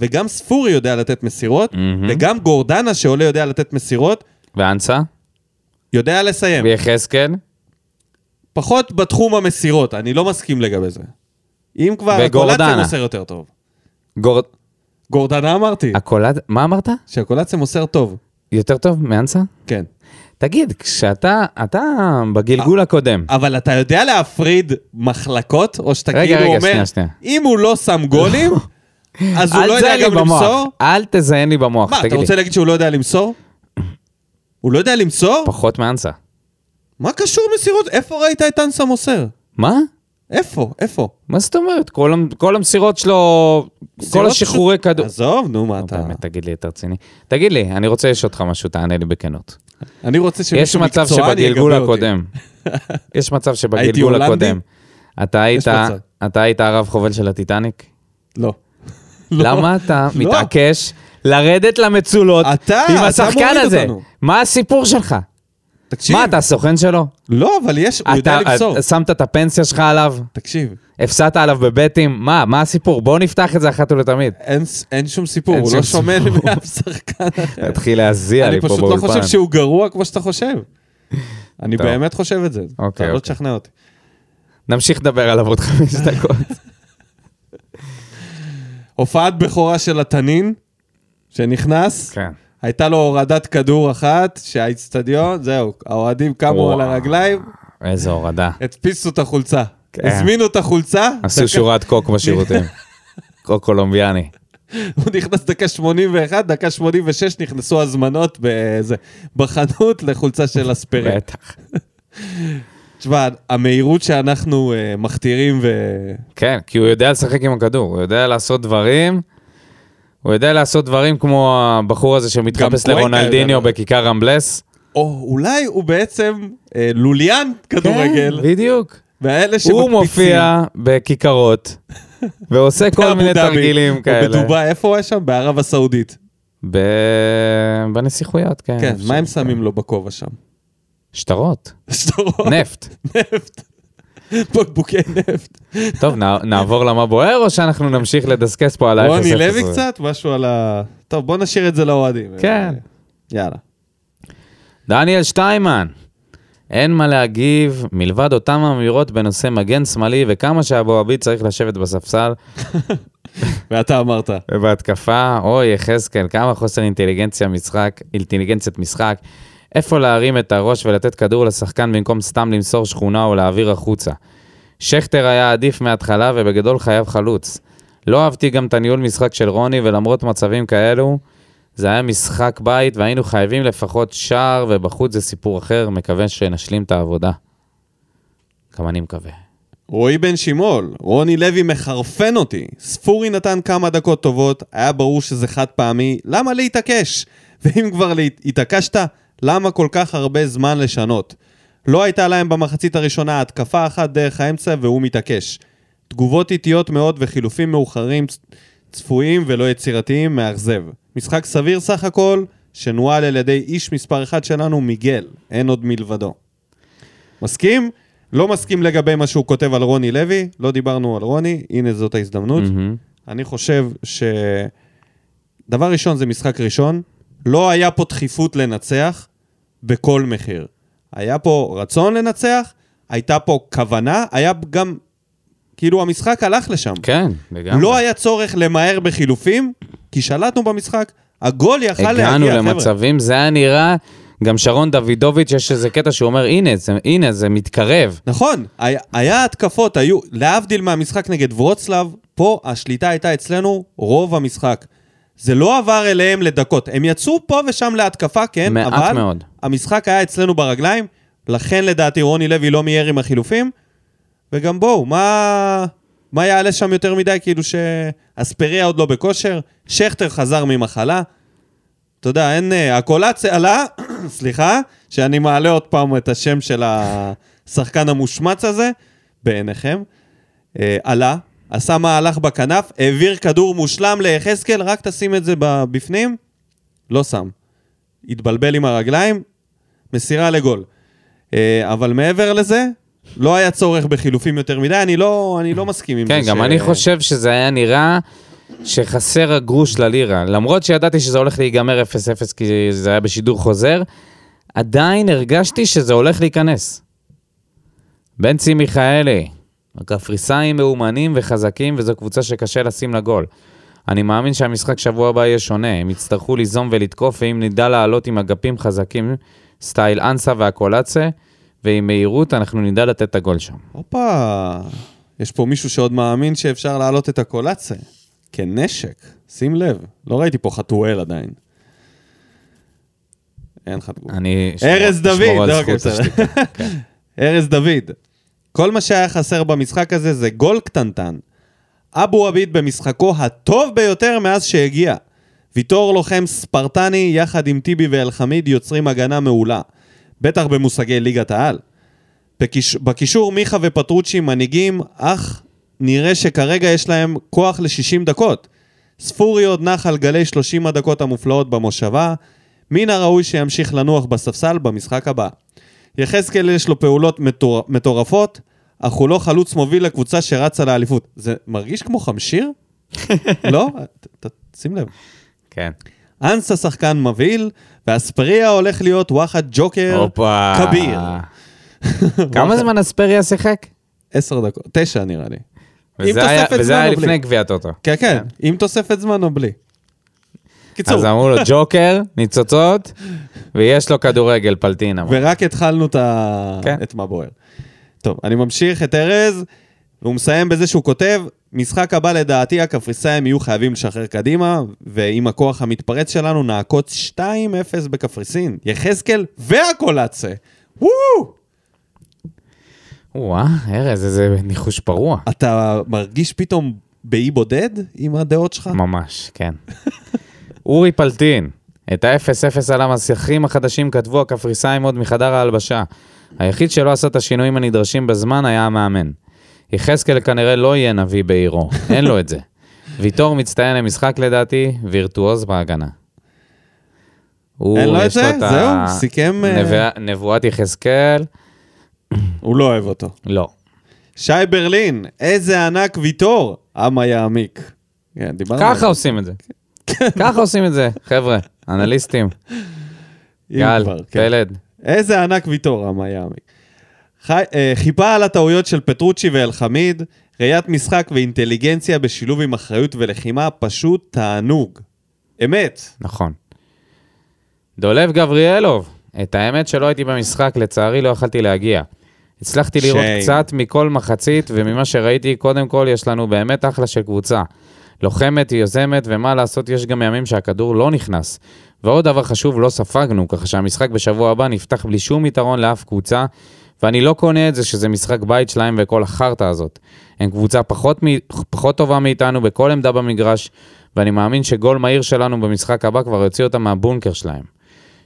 וגם ספורי יודע לתת מסירות,
מהמם.
וגם גורדנה שעולה יודע לתת מסירות,
ואנסה,
יודע לסיים.
ויחזקאל,
פחות בתחום המסירות, אני לא מסכים לגבי זה. אם כבר,
וגורדנה.
הקולציה מוסר יותר טוב.
גור...
גורדנה אמרתי,
הקולד... מה אמרת?
שהקולציה מוסר טוב,
יותר טוב מאנסה?
כן.
תגיד, כשאתה, אתה בגלגול הקודם,
אבל אתה יודע להפריד מחלקות, או שאתה
רגע,
כאילו
רגע,
אומר,
שנייה, שנייה.
אם הוא לא שם גולים, אז הוא
אל
לא
תזיין
יודע
לי
גם
במוח.
למסור?
אל תזיין לי במוח,
מה, אתה
תגיד לי.
רוצה להגיד שהוא לא יודע למסור? הוא לא יודע למסור?
פחות מאנסה.
מה קשור מסירות? איפה ראית את אנסה מוסר?
מה?
איפה? איפה?
מה זאת אומרת? כל, המ- כל המסירות שלו, כל
מסירות
השחרורי
פשוט-
כדור.
עזוב, נו, מה
נו, לא,
אתה...
באמת, תגיד לי, אתה רציני. תגיד לי, אני רוצה לשאול אותך משהו, תענה לי בכנות.
אני רוצה
יש
שמישהו
מצב
מקצוען יגבה אותי.
שבגלגול הקודם, יש מצב שבגלגול
הולנדי?
הקודם, אתה היית,
מצב.
אתה היית הרב חובל של הטיטניק?
לא.
למה אתה
לא.
מתעקש לרדת למצולות
אתה-
עם
אתה
השחקן
מוריד
הזה?
אותנו.
מה הסיפור שלך?
תקשיב.
מה, אתה הסוכן שלו?
לא, אבל יש, הוא יודע
אתה
למסור.
אתה שמת את הפנסיה שלך עליו?
תקשיב,
הפסדת עליו בבטים? מה, מה הסיפור? בוא נפתח את זה אחת ולתמיד.
אין ס- אין שום סיפור,
אין
הוא
שום
לא שומע
סיפור.
לאף שחקן אחר.
תתחיל להזיע
כן. אני
לי פה
פשוט
באולפן.
לא חושב שהוא גרוע כמו שאתה חושב. אני
טוב.
באמת חושב את זה. אתה לא
אוקיי.
תשכנע אותי.
נמשיך לדבר עליו עוד חמש דקות.
הופעת בכורה של התנין, שנכנס,
כן.
הייתה לו הורדת כדור אחת, שהאיצטדיון, זהו, האוהדים קמו
וואו.
על הרגליים,
איזו הורדה.
הדפיסו את החולצה.
כן.
הזמינו את החולצה,
עשו
דקה-
שורת קוק בשירותים. קוק קולומביאני.
הוא נכנס דקה 81, דקה 86 נכנסו הזמנות בזה, בחנות לחולצה של אספריה.
בטח.
תשמע, המהירות שאנחנו אה, מכתירים ו...
כן, כי הוא יודע לשחק עם הכדור, הוא יודע לעשות דברים. הוא יודע לעשות דברים כמו הבחור הזה שמתחפש
גם קרויקה
לרונלדיניו
יודע.
בכיכר רמבלס.
או אולי הוא בעצם אה, לוליין כדורגל,
בדיוק.
והאלה שמקפיצים.
כן. הוא מופיע בכיכרות, ועושה כל
באבו
מיני
דאבי,
תרגילים
או
כאלה.
בדובאי, איפה הוא היה שם? בערב הסעודית.
ב- בנסיכויות, כן.
כן, מה הם שמים לו בכובע שם?
שטרות,
שטרות,
נפט.
נפט. בקבוקי נפט.
טוב, נע- נעבור למה בוער, או שאנחנו נמשיך לדסקס פה על ה-0-0?
רוני לוי קצת? משהו על ה... טוב, בוא נשאיר את זה לאוהדים.
כן.
אה, יאללה.
דניאל שטיימן, אין מה להגיב מלבד אותם אמירות בנושא מגן שמאלי וכמה שאבו עביד צריך לשבת בספסל
ואתה אמרת.
ובהתקפה, אוי יחזקאל, כמה חוסר אינטליגנציה משחק, אינטליגנציית משחק. איפה להרים את הראש ולתת כדור לשחקן במקום סתם למסור שכונה או להעביר החוצה. שכטר היה עדיף מההתחלה ובגדול חייב חלוץ. לא אהבתי גם את הניהול משחק של רוני, ולמרות מצבים כאלו, זה היה משחק בית והיינו חייבים לפחות שער, ובחוץ זה סיפור אחר, מקווה שנשלים את העבודה. גם אני מקווה.
רועי בן שימול, רוני לוי מחרפן אותי. ספורי נתן כמה דקות טובות, היה ברור שזה חד פעמי, למה להתעקש? ואם כבר להת- התעקשת, למה כל כך הרבה זמן לשנות? לא הייתה להם במחצית הראשונה התקפה אחת דרך האמצע והוא מתעקש. תגובות איטיות מאוד וחילופים מאוחרים צ- צפויים ולא יצירתיים מאכזב. משחק סביר סך הכל, שנוהל על ידי איש מספר אחד שלנו, מיגל. אין עוד מלבדו. מסכים? לא מסכים לגבי מה שהוא כותב על רוני לוי, לא דיברנו על רוני, הנה זאת ההזדמנות.
מהמם.
אני חושב ש... דבר ראשון זה משחק ראשון, לא היה פה דחיפות לנצח בכל מחיר. היה פה רצון לנצח, הייתה פה כוונה, היה גם... כאילו המשחק הלך לשם.
כן, לגמרי.
לא היה צורך למהר בחילופים, כי שלטנו במשחק, הגול יכל להגיע,
הגענו
חבר'ה.
למצבים, זה היה נראה, גם שרון דוידוביץ', יש איזה קטע שהוא אומר, הנה, זה, הנה, זה מתקרב.
נכון, היה, היה התקפות, היו, להבדיל מהמשחק נגד וורצלב, פה השליטה הייתה אצלנו רוב המשחק. זה לא עבר אליהם לדקות, הם יצאו פה ושם להתקפה, כן,
מעט
אבל
מאוד.
המשחק היה אצלנו ברגליים, לכן לדעתי רוני לוי לא מיהר עם החילופים, וגם בואו, מה, מה יעלה שם יותר מדי, כאילו שאספריה עוד לא בכושר, שכטר חזר ממחלה, אתה יודע, אין... אה, הקולץ עלה, סליחה, שאני מעלה עוד פעם את השם של השחקן המושמץ הזה, בעיניכם, אה, עלה, עשה מהלך בכנף, העביר כדור מושלם ליחזקאל, רק תשים את זה ב- בפנים, לא שם. התבלבל עם הרגליים, מסירה לגול. אה, אבל מעבר לזה, לא היה צורך בחילופים יותר מדי, אני לא, אני לא מסכים עם
כן,
זה.
גם אני חושב שזה היה נראה שחסר הגרוש ללירה. למרות שידעתי שזה הולך להיגמר 0-0 כי זה היה בשידור חוזר, עדיין הרגשתי שזה הולך להיכנס. בנצי מיכאלי, הקפריסאים מאומנים וחזקים, וזו קבוצה שקשה לשים לגול. אני מאמין שהמשחק שבוע הבא יהיה שונה, הם יצטרכו ליזום ולתקוף, ואם נדע לעלות עם אגפים חזקים, סטייל אנסה והקולאצה, ועם מהירות, אנחנו נדע לתת את הגול שם.
הופה, יש פה מישהו שעוד מאמין שאפשר להעלות את הקולציה. כנשק, שים לב, לא ראיתי פה חתואל עדיין. אין לך תגובה.
אני...
ארז
אשמור-
דוד,
אשמור על
לא,
זכות
בסדר.
השתיקה. כן.
ארז דוד, כל מה שהיה חסר במשחק הזה זה גול קטנטן. אבו עביד במשחקו הטוב ביותר מאז שהגיע. ויטור לוחם ספרטני יחד עם טיבי ואלחמיד יוצרים הגנה מעולה. בטח במושגי ליגת העל. בקיש... בקישור מיכה ופטרוצ'י מנהיגים, אך נראה שכרגע יש להם כוח ל-60 דקות. ספורי עוד נח על גלי 30 הדקות המופלאות במושבה, מן הראוי שימשיך לנוח בספסל במשחק הבא. יחזקאל יש לו פעולות מטור... מטורפות, אך הוא לא חלוץ מוביל לקבוצה שרצה לאליפות. זה מרגיש כמו חמשיר? לא? ת- ת- שים לב.
כן.
אנסה שחקן מבהיל, ואספריה הולך להיות וואחד ג'וקר
הופה.
כן. כביר.
כמה זמן אספריה שיחק?
עשר דקות, תשע נראה לי.
וזה היה-
תוספת זמן
וזה היה
או בלי?
לפני גביע טוטו.
כן, כן, עם תוספת זמן או בלי. קיצור,
אז אמרו לו ג'וקר, ניצוצות, ויש לו כדורגל פלטין. אמר.
ורק התחלנו את, ה...
כן.
את מה בוער. טוב, אני ממשיך את ארז, והוא מסיים בזה שהוא כותב, משחק הבא לדעתי הקפריסאים יהיו חייבים לשחרר קדימה, ועם הכוח המתפרץ שלנו נעקוץ 2-0 בקפריסין, יחזקאל והקולאצה. וואו!
וואה, ארז, איזה ניחוש פרוע.
אתה מרגיש פתאום באי בודד עם הדעות שלך?
ממש, כן. אורי פלטין, את ה-0-0 על המסכים החדשים כתבו הקפריסאים עוד מחדר ההלבשה. היחיד שלא עשה את השינויים הנדרשים בזמן היה המאמן. יחזקאל כנראה לא יהיה נביא בעירו, אין לו את זה. ויטור מצטיין למשחק לדעתי, וירטואוז בהגנה. הוא,
אין לו את
יש
זה?
ה-
זהו, סיכם, אה,
נבואה- נבואת יחזקאל,
הוא לא אוהב אותו.
לא.
שי ברלין, איזה ענק ויטור, עמה יעמיק. כן, דיברנו. על
ככה
זה.
עושים את זה.
כן.
ככה עושים את זה, חבר'ה, אנליסטים.
אם
גל,
כבר, כן.
פלד.
איזה ענק ויטור, עמה יעמיק. חי- אה, חיפה על הטעויות של פטרוצ'י ואלחמיד, ראיית משחק ואינטליגנציה בשילוב עם אחריות ולחימה, פשוט תענוג. אמת.
נכון. דולב גבריאלוב, את האמת שלא הייתי במשחק, לצערי לא יכלתי להגיע. הצלחתי לראות
שיין.
קצת מכל מחצית, וממה שראיתי, קודם כל, יש לנו באמת אחלה של קבוצה. לוחמת, היא יוזמת, ומה לעשות, יש גם ימים שהכדור לא נכנס. ועוד דבר חשוב, לא ספגנו, ככה שהמשחק בשבוע הבא נפתח בלי שום יתרון לאף קבוצה, ואני לא קונה את זה שזה משחק בית שלהם וכל החרטא הזאת. הם קבוצה פחות, מ... פחות טובה מאיתנו בכל עמדה במגרש, ואני מאמין שגול מהיר שלנו במשחק הבא כבר יוציא אותם מהבונקר שלהם.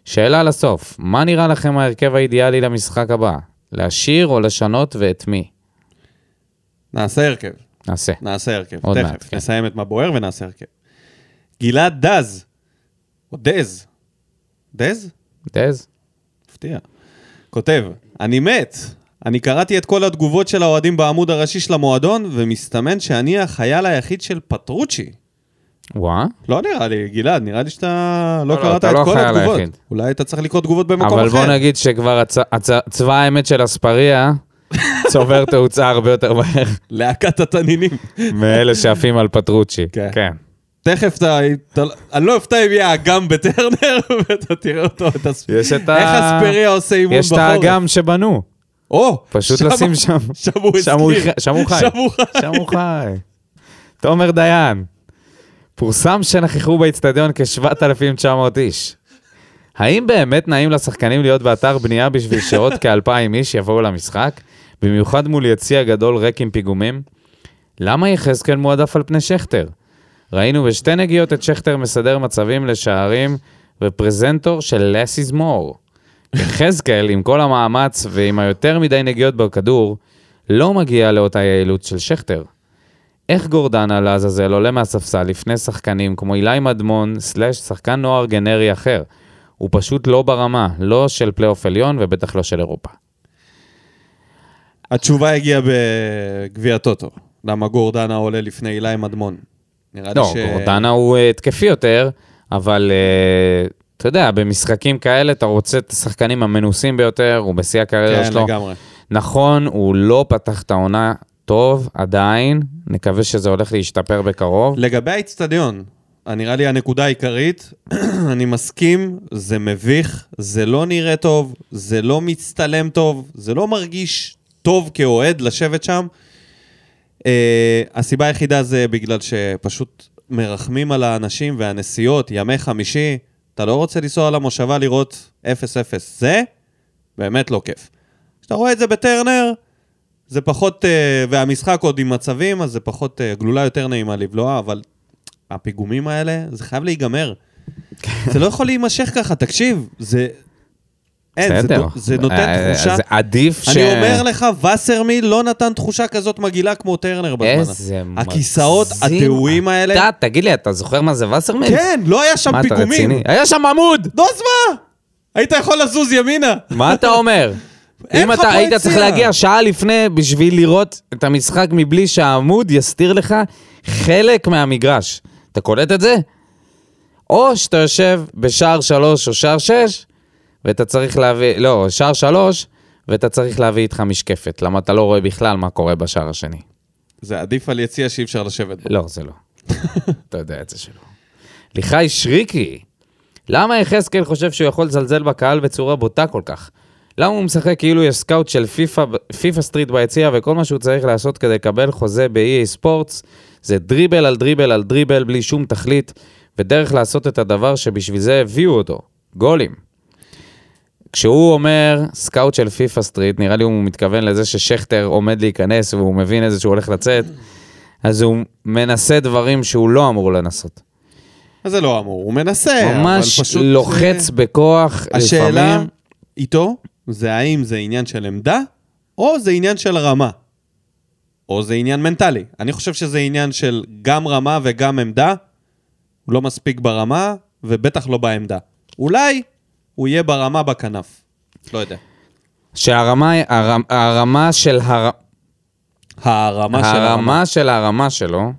שאלה לסוף, מה נראה לכם ההרכב האידיאלי למשחק הבא? להשאיר או לשנות ואת מי?
נעשה הרכב.
נעשה.
נעשה הרכב.
עוד מעט,
תכף
כן.
נסיים את מה בוער ונעשה הרכב. גלעד דז, או דז, דז?
דז?
מפתיע. כותב, אני מת. אני קראתי את כל התגובות של האוהדים בעמוד הראשי של המועדון, ומסתמן שאני החייל היחיד של פטרוצ'י.
וואה.
לא נראה לי, גלעד, נראה לי שאתה לא
לא,
קראת
אתה
את
לא
כל
החייל
התגובות.
היחיד.
אולי אתה צריך לקרוא תגובות במקום
אבל
אחר.
בוא נגיד שכבר הצ... הצ... צבא האמת של אספריה צובר תאוצה הרבה יותר מהר
להקת התנינים.
מאלה שעפים על פטרוצ'י.
כן.
כן.
תכף אתה... אתה- אני לא אופתע אם יהיה אגם בטרנר, ואתה תראה אותו, את הספ...
יש את ה-
איך אספריה עושה אימון
יש
בחורף.
את האגם שבנו,
או!
פשוט
שם-
לשים שם.
שם הוא
שם הוא
הזכיר.
חי- שם הוא חי.
שם הוא חי.
שם הוא חי. תומר דיין, פורסם שנכחו באצטדיון כ-7,900 איש. האם באמת נעים לשחקנים להיות באתר בנייה בשביל שעוד כ-2,000 איש יבואו למשחק? במיוחד מול יציע גדול ריק עם פיגומים? למה יחזקאל מועדף על פני שכטר? ראינו בשתי נגיעות את שכטר מסדר מצבים לשערים ופרזנטור של less is more. יחזקאל, עם כל המאמץ ועם היותר מדי נגיעות בכדור, לא מגיע לאותה יעילות של שכטר. איך גורדנה לעזאזל עולה מהספסל לפני שחקנים כמו אילי מדמון, סלאש שחקן נוער גנרי אחר? הוא פשוט לא ברמה, לא של פלייאוף עליון ובטח לא של אירופה.
התשובה הגיעה בגביע הטוטו. למה גורדנה עולה לפני אילי מדמון? נראה לי
לא,
ש...
גורדנה הוא אה, התקפי יותר, אבל אה, אתה יודע, במשחקים כאלה אתה רוצה את השחקנים המנוסים ביותר, הוא בשיא הקריירה
כן,
שלו.
לגמרי.
נכון, הוא לא פתח את העונה טוב עדיין, נקווה שזה הולך להשתפר בקרוב.
לגבי האיצטדיון, נראה לי הנקודה העיקרית, אני מסכים, זה מביך, זה לא נראה טוב, זה לא מצטלם טוב, זה לא מרגיש טוב כאוהד לשבת שם. Uh, הסיבה היחידה זה בגלל שפשוט מרחמים על האנשים והנסיעות, ימי חמישי, אתה לא רוצה לנסוע למושבה לראות 0-0. זה באמת לא כיף. כשאתה רואה את זה בטרנר, זה פחות, אה, והמשחק עוד עם מצבים, אז זה פחות, אה, גלולה יותר נעימה לבלוע, אבל הפיגומים האלה, זה חייב להיגמר.
כן.
זה לא יכול להימשך ככה, תקשיב, זה... אין, זה,
בסדר.
נו- זה נותן
אה,
תחושה...
זה עדיף ש...
אני אומר לך, וסרמיל לא נתן תחושה כזאת מגעילה כמו טרנר בזמן הזה.
איזה מגזים.
הכיסאות הדהויים האלה...
אתה, תגיד לי, אתה זוכר מה זה וסרמן?
כן, לא היה שם
מה, אתה
פיגומים.
רציני? היה שם עמוד!
נו, אז מה? היית יכול לזוז ימינה.
מה אתה אומר?
אין
אם
לך
אתה
פה
היית
יציאה.
צריך להגיע שעה לפני בשביל לראות את המשחק מבלי שהעמוד יסתיר לך חלק מהמגרש. אתה קולט את זה? או שאתה יושב בשער שלוש או שער שש, ואתה צריך להביא, לא, שער שלוש, ואתה צריך להביא איתך משקפת, למה אתה לא רואה בכלל מה קורה בשער השני.
זה עדיף על יציע שאי אפשר לשבת בו.
לא, זה לא. אתה יודע את זה שלא. ליחי שריקי, למה יחזקאל חושב שהוא יכול לזלזל בקהל בצורה בוטה כל כך? למה הוא משחק כאילו יש סקאוט של פיפא, פיפא סטריט ביציע וכל מה שהוא צריך לעשות כדי לקבל חוזה ב-EA ספורטס זה דריבל על דריבל על דריבל בלי שום תכלית ודרך לעשות את הדבר שבשביל זה הביאו אותו, גולים. כשהוא אומר סקאוט של פיפא סטריט, נראה לי הוא מתכוון לזה ששכטר עומד להיכנס והוא מבין איזה שהוא הולך לצאת, אז הוא מנסה דברים שהוא לא אמור לנסות.
אז זה לא אמור, הוא מנסה,
ממש
אבל פשוט...
לוחץ
אה,
בכוח,
השאלה
לפעמים...
איתו זה האם זה עניין של עמדה, או זה עניין של רמה. או זה עניין מנטלי. אני חושב שזה עניין של גם רמה וגם עמדה. הוא לא מספיק ברמה, ובטח לא בעמדה. אולי הוא יהיה ברמה בכנף. לא יודע.
שהרמה הרמ, הרמה של, הר,
הרמה של הרמה.
הרמה של הרמה שלו,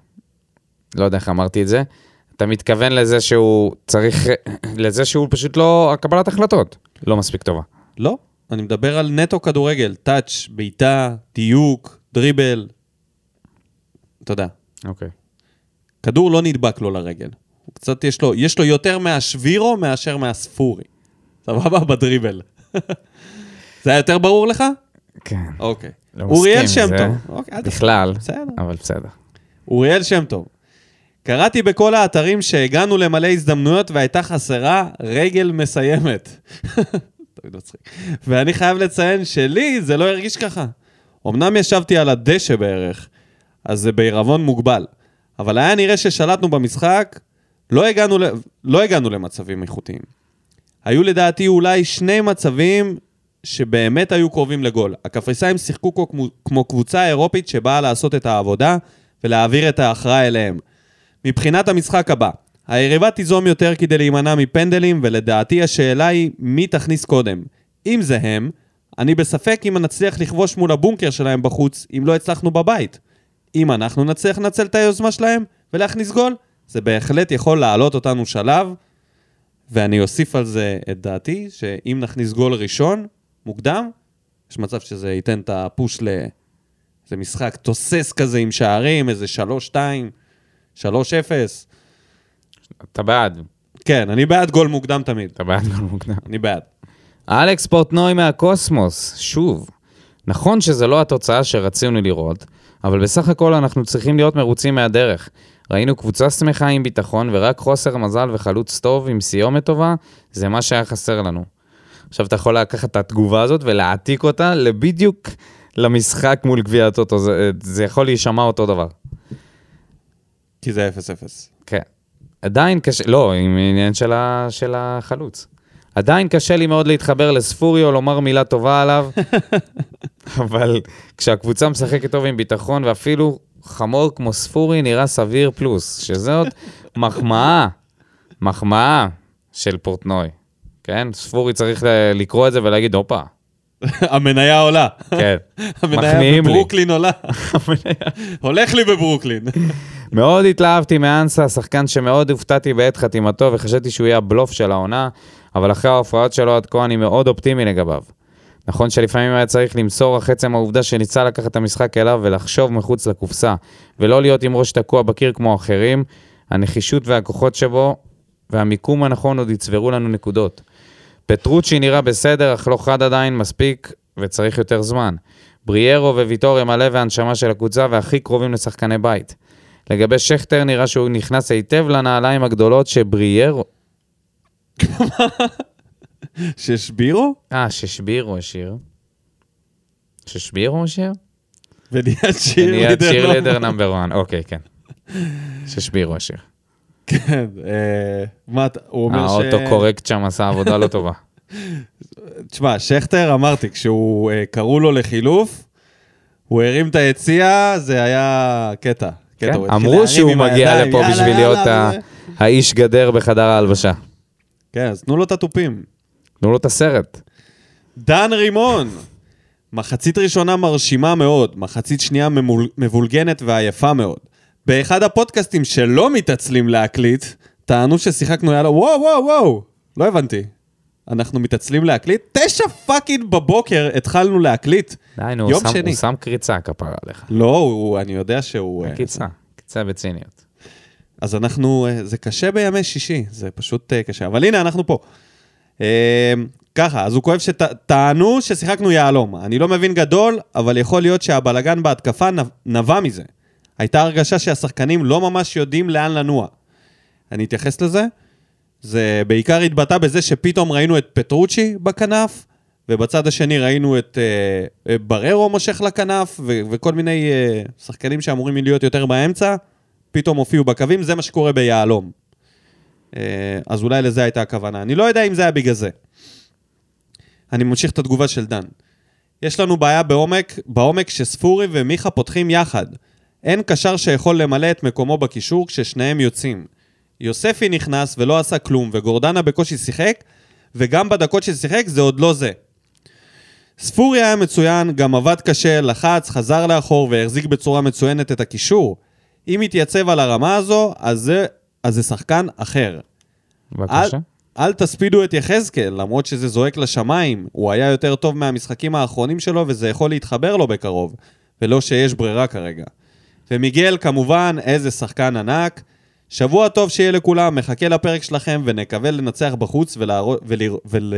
לא יודע איך אמרתי את זה, אתה מתכוון לזה שהוא צריך, לזה שהוא פשוט לא, הקבלת החלטות לא מספיק טובה.
לא, אני מדבר על נטו כדורגל. טאץ', בעיטה, דיוק, דריבל. אתה יודע,
אוקיי.
כדור לא נדבק לו לרגל. הוא קצת יש לו, יש לו יותר מהשבירו מאשר מהספורי. סבבה? בדריבל. זה היה יותר ברור לך?
כן.
אוקיי.
לא
אוריאל
מסכים
שם
עם זה.
טוב. אוקיי, אל תפריע.
בכלל,
בסדר.
אבל בסדר.
אוריאל שם טוב. קראתי בכל האתרים שהגענו למלא הזדמנויות והייתה חסרה רגל מסיימת. תמיד מצחיק. ואני חייב לציין שלי זה לא הרגיש ככה. אמנם ישבתי על הדשא בערך, אז זה בעירבון מוגבל. אבל היה נראה ששלטנו במשחק, לא הגענו, ל... לא הגענו למצבים איכותיים. היו לדעתי אולי שני מצבים שבאמת היו קרובים לגול. הקפריסאים שיחקו כמו, כמו קבוצה אירופית שבאה לעשות את העבודה ולהעביר את ההכרעה אליהם. מבחינת המשחק הבא, היריבה תיזום יותר כדי להימנע מפנדלים, ולדעתי השאלה היא מי תכניס קודם. אם זה הם, אני בספק אם נצליח לכבוש מול הבונקר שלהם בחוץ, אם לא הצלחנו בבית. אם אנחנו נצליח לנצל את היוזמה שלהם ולהכניס גול, זה בהחלט יכול להעלות אותנו שלב, ואני אוסיף על זה את דעתי, שאם נכניס גול ראשון, מוקדם, יש מצב שזה ייתן את הפוש ל... זה משחק תוסס כזה עם שערים, איזה 3-2, 3-0.
אתה בעד,
כן, אני בעד גול מוקדם תמיד,
אתה בעד גול מוקדם.
אני בעד.
אלכס פורטנוי מהקוסמוס, שוב. נכון שזו לא התוצאה שרצינו לראות, אבל בסך הכל אנחנו צריכים להיות מרוצים מהדרך. ראינו קבוצה שמחה עם ביטחון, ורק חוסר מזל וחלוץ טוב עם סיומת טובה, זה מה שהיה חסר לנו. עכשיו אתה יכול לקחת את התגובה הזאת ולהעתיק אותה לבדיוק למשחק מול גביע הטוטו, זה, זה יכול להישמע אותו דבר.
כי זה 0-0.
כן. עדיין קשה, לא, עם עניין של, ה, של החלוץ. עדיין קשה לי מאוד להתחבר לספוריו, לומר מילה טובה עליו, אבל כשהקבוצה משחקת טוב עם ביטחון, ואפילו חמור כמו ספורי נראה סביר פלוס, שזה עוד מחמאה, מחמאה של פורטנוי. כן? ספורי צריך ל- לקרוא את זה ולהגיד, הופה,
המניה עולה.
כן,
המניה
מחמיאים לי.
בברוקלין עולה. הולך לי בברוקלין.
מאוד התלהבתי מאנסה, שחקן שמאוד הופתעתי בעת חתימתו וחשבתי שהוא יהיה הבלוף של העונה, אבל אחרי ההופעות שלו עד כה אני מאוד אופטימי לגביו. נכון שלפעמים היה צריך למסור אך עצם העובדה שניסה לקחת את המשחק אליו ולחשוב מחוץ לקופסה, ולא להיות עם ראש תקוע בקיר כמו אחרים, הנחישות והכוחות שבו והמיקום הנכון עוד יצברו לנו נקודות. פטרוצ'י נראה בסדר, אך לא חד עדיין מספיק, וצריך יותר זמן. בריארו וויטור הם הלב והנשמה של הקבוצה והכי קרובים לשחקני בית. לגבי שכטר, נראה שהוא נכנס היטב לנעליים הגדולות שבריארו...
שהשבירו?
אה, ששבירו השאיר. ששבירו השאיר?
כן, ונהיה
נהיה
צ'ירלידר.
צ'ירלידר
לא.
נאמבר 1, אוקיי, כן. ששבירו השאיר.
כן, אה, מה אתה, הוא אומר ש... כן,
האוטו קורקט שם עשה עבודה לא טובה.
תשמע, שכטר, אמרתי, כשהוא אה, קראו לו לחילוף, הוא הרים את היציע, זה היה קטע. קטע,
כן,
הוא התחיל להרים
אמרו שהוא
עם
מגיע
הידיים,
לפה
יאללה,
בשביל
יאללה,
להיות ה-
וזה.
האיש גדר בחדר ההלבשה.
כן, אז תנו לו את התופים.
תנו לו את הסרט.
דן רימון! מחצית ראשונה מרשימה מאוד, מחצית שנייה ממול- מבולגנת ועייפה מאוד. באחד הפודקאסטים שלא מתעצלים להקליט, טענו ששיחקנו יאללה, וואו, וואו, וואו, לא הבנתי. אנחנו מתעצלים להקליט? תשע פאקינג בבוקר התחלנו להקליט.
די, נו, הוא
יום
שם-
שני.
הוא שם קריצה כפרה עליך.
לא, הוא, אני יודע שהוא... אה,
קריצה, קריצה בציניות.
אז אנחנו, אה, זה קשה בימי שישי, זה פשוט אה, קשה, אבל הנה, אנחנו פה. אה, ככה, אז הוא כואב שטענו ששיחקנו יהלום. אני לא מבין גדול, אבל יכול להיות שהבלגן בהתקפה נב- נבע מזה. הייתה הרגשה שהשחקנים לא ממש יודעים לאן לנוע. אני אתייחס לזה. זה בעיקר התבטא בזה שפתאום ראינו את פטרוצ'י בכנף, ובצד השני ראינו את אה, אה, בררו מושך לכנף, ו- וכל מיני אה, שחקנים שאמורים להיות יותר באמצע, פתאום הופיעו בקווים, זה מה שקורה ביהלום. אה, אז אולי לזה הייתה הכוונה. אני לא יודע אם זה היה בגלל זה. אני ממשיך את התגובה של דן. יש לנו בעיה בעומק, בעומק שספורי ומיכה פותחים יחד. אין קשר שיכול למלא את מקומו בקישור כששניהם יוצאים. יוספי נכנס ולא עשה כלום, וגורדנה בקושי שיחק, וגם בדקות ששיחק זה עוד לא זה. ספורי היה מצוין, גם עבד קשה, לחץ, חזר לאחור והחזיק בצורה מצוינת את הקישור. אם יתייצב על הרמה הזו, אז זה, אז זה שחקן אחר. אה,
בבקשה.
אל, אל תספידו את יחזקאל, למרות שזה זועק לשמיים. הוא היה יותר טוב מהמשחקים האחרונים שלו, וזה יכול להתחבר לו בקרוב, ולא שיש ברירה כרגע. ומיגל, כמובן, איזה שחקן ענק. שבוע טוב שיהיה לכולם, מחכה לפרק שלכם, ונקווה לנצח בחוץ ולהראות... ולר... ול...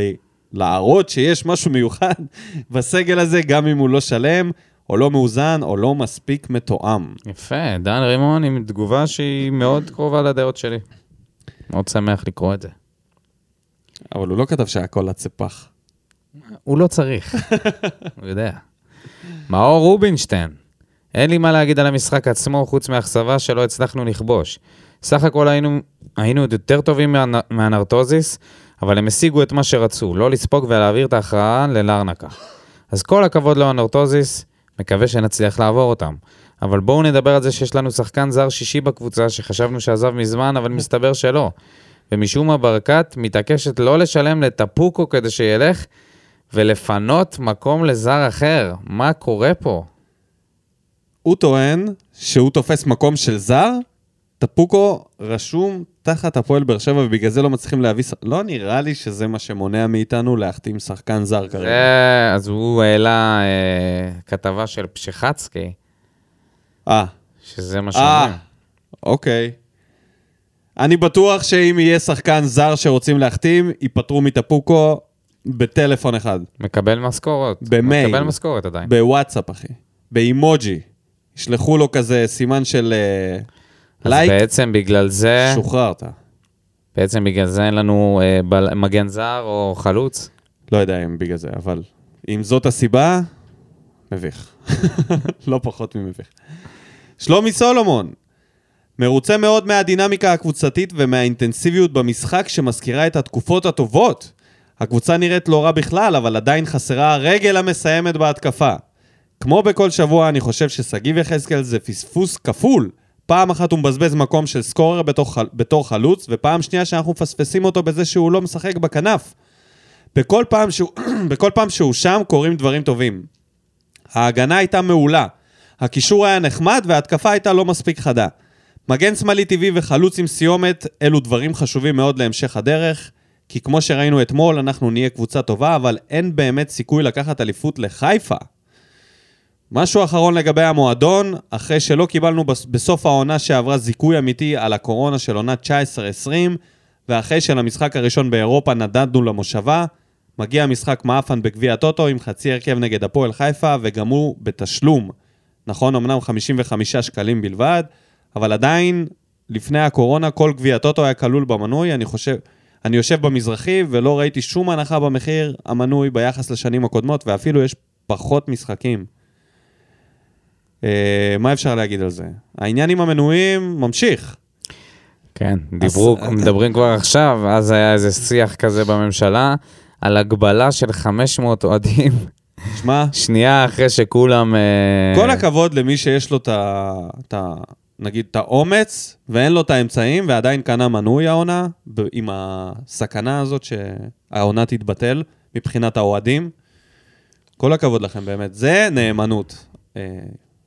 להראות שיש משהו מיוחד בסגל הזה, גם אם הוא לא שלם, או לא מאוזן, או לא מספיק מתואם.
יפה, דן רימון עם תגובה שהיא מאוד קרובה לדעות שלי. מאוד שמח לקרוא את זה.
אבל הוא לא כתב שהכל עד צפח.
הוא לא צריך, הוא יודע. מאור רובינשטיין, אין לי מה להגיד על המשחק עצמו, חוץ מהאכזבה שלא הצלחנו לכבוש. סך הכל היינו, היינו עוד יותר טובים מהנ- מהנרטוזיס, אבל הם השיגו את מה שרצו, לא לספוג ולהעביר את ההכרעה ללרנקה. אז כל הכבוד לאנרטוזיס, מקווה שנצליח לעבור אותם. אבל בואו נדבר על זה שיש לנו שחקן זר שישי בקבוצה שחשבנו שעזב מזמן, אבל מסתבר שלא. ומשום מה ברקת מתעקשת לא לשלם לטפוקו כדי שילך, ולפנות מקום לזר אחר. מה קורה פה?
הוא טוען שהוא תופס מקום של זר, טפוקו רשום תחת הפועל באר שבע ובגלל זה לא מצליחים להביא... ש- לא נראה לי שזה מה שמונע מאיתנו להחתים שחקן זר כרגע.
זה, אה, אז הוא העלה אה, כתבה של פשחצקי,
אה,
שזה מה
אה,
שאומרים.
אוקיי. אני בטוח שאם יהיה שחקן זר שרוצים להחתים, ייפטרו מטפוקו בטלפון אחד,
מקבל משכורת.
במייל.
מקבל משכורת עדיין.
בוואטסאפ, אחי, באימוג'י. ישלחו לו כזה סימן של אה,
אז
לייק,
בעצם בגלל זה,
שוחררת.
בעצם בגלל זה אין לנו אה, בל- מגן זר או חלוץ.
לא יודע אם בגלל זה, אבל אם זאת הסיבה, מביך. לא פחות ממביך. שלומי סולומון, מרוצה מאוד מהדינמיקה הקבוצתית ומהאינטנסיביות במשחק שמזכירה את התקופות הטובות. הקבוצה נראית לא רע בכלל, אבל עדיין חסרה הרגל המסיימת בהתקפה. כמו בכל שבוע, אני חושב ששגיב יחזקאל זה פספוס כפול. פעם אחת הוא מבזבז מקום של סקורר בתור, חל- בתור חלוץ, ופעם שנייה שאנחנו מפספסים אותו בזה שהוא לא משחק בכנף. בכל פעם שהוא, בכל פעם שהוא שם קורים דברים טובים. ההגנה הייתה מעולה, הקישור היה נחמד וההתקפה הייתה לא מספיק חדה. מגן שמאלי טבעי וחלוץ עם סיומת, אלו דברים חשובים מאוד להמשך הדרך, כי כמו שראינו אתמול, אנחנו נהיה קבוצה טובה, אבל אין באמת סיכוי לקחת אליפות לחיפה. משהו אחרון לגבי המועדון, אחרי שלא קיבלנו בס- בסוף העונה שעברה זיכוי אמיתי על הקורונה של עונת 19-20, ואחרי שלמשחק הראשון באירופה נדדנו למושבה, מגיע משחק מאפן בגביע הטוטו עם חצי הרכב נגד הפועל חיפה, וגם הוא בתשלום. נכון, אמנם 55 שקלים בלבד, אבל עדיין, לפני הקורונה, כל גביע הטוטו היה כלול במנוי, אני חושב... אני יושב במזרחי ולא ראיתי שום הנחה במחיר המנוי ביחס לשנים הקודמות, ואפילו יש פחות משחקים. אה, מה אפשר להגיד על זה? העניין עם המנויים ממשיך.
כן, דיברו,
אה,
מדברים כבר עכשיו, אז היה איזה שיח כזה בממשלה, על הגבלה של 500 אוהדים,
שמע,
שנייה אחרי שכולם... אה,
כל הכבוד למי שיש לו את ה... את ה- נגיד, את האומץ, ואין לו את האמצעים, ועדיין קנה מנוי העונה, ב- עם הסכנה הזאת שהעונה תתבטל מבחינת האוהדים. כל הכבוד לכם, באמת. זה נאמנות. אה,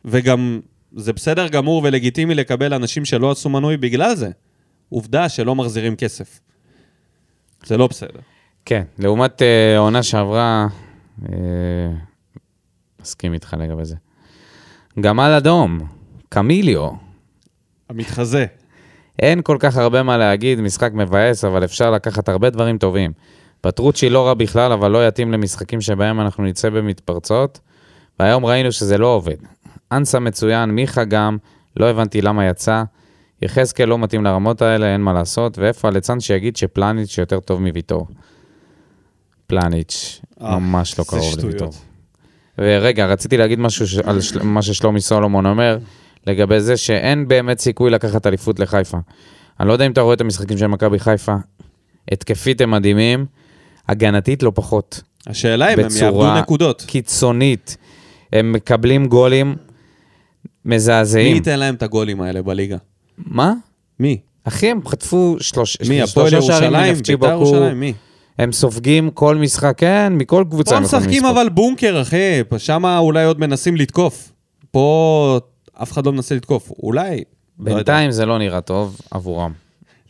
וגם, זה בסדר גמור ולגיטימי לקבל אנשים שלא עשו מנוי בגלל זה. עובדה שלא מחזירים כסף. זה לא בסדר.
כן, לעומת אה, העונה שעברה, אה, מסכים איתך לגבי זה. גמל אדום, קמיליו.
המתחזה.
אין כל כך הרבה מה להגיד, משחק מבאס, אבל אפשר לקחת הרבה דברים טובים. פטרוצ'י לא רע בכלל, אבל לא יתאים למשחקים שבהם אנחנו נצא במתפרצות, והיום ראינו שזה לא עובד. אנסה מצוין, מיכה גם, לא הבנתי למה יצא. יחזקאל לא מתאים לרמות האלה, אין מה לעשות, ואיפה הליצן שיגיד שפלניץ' יותר טוב מוויטור? פלניץ',
אה,
ממש לא
זה
קרוב
שטויות.
לוויטור. ורגע, רציתי להגיד משהו ש... על של... מה ששלומי סולומון אומר, לגבי זה שאין באמת סיכוי לקחת אליפות לחיפה. אני לא יודע אם אתה רואה את המשחקים של מכבי חיפה. התקפית הם מדהימים, הגנתית לא פחות.
השאלה אם הם יאבדו
בצורה
נקודות.
קיצונית. הם מקבלים גולים
מי
מזעזעים.
ייתן להם את הגולים האלה בליגה?
מה?
מי?
אחי, הם חטפו שלוש...
מי?
שלושה
הפועל
שערים
ירושלים?
מנפצ'יבוקו.
בית"ר ירושלים? מי?
הם סופגים כל משחק, כן, מכל קבוצה
פה
הם יכולים
משחקים
לספוג.
אבל בונקר, אחי. שם אולי עוד מנסים לתקוף. פה אף אחד לא מנסה לתקוף. אולי. לא יודע.
בינתיים זה לא נראה טוב עבורם.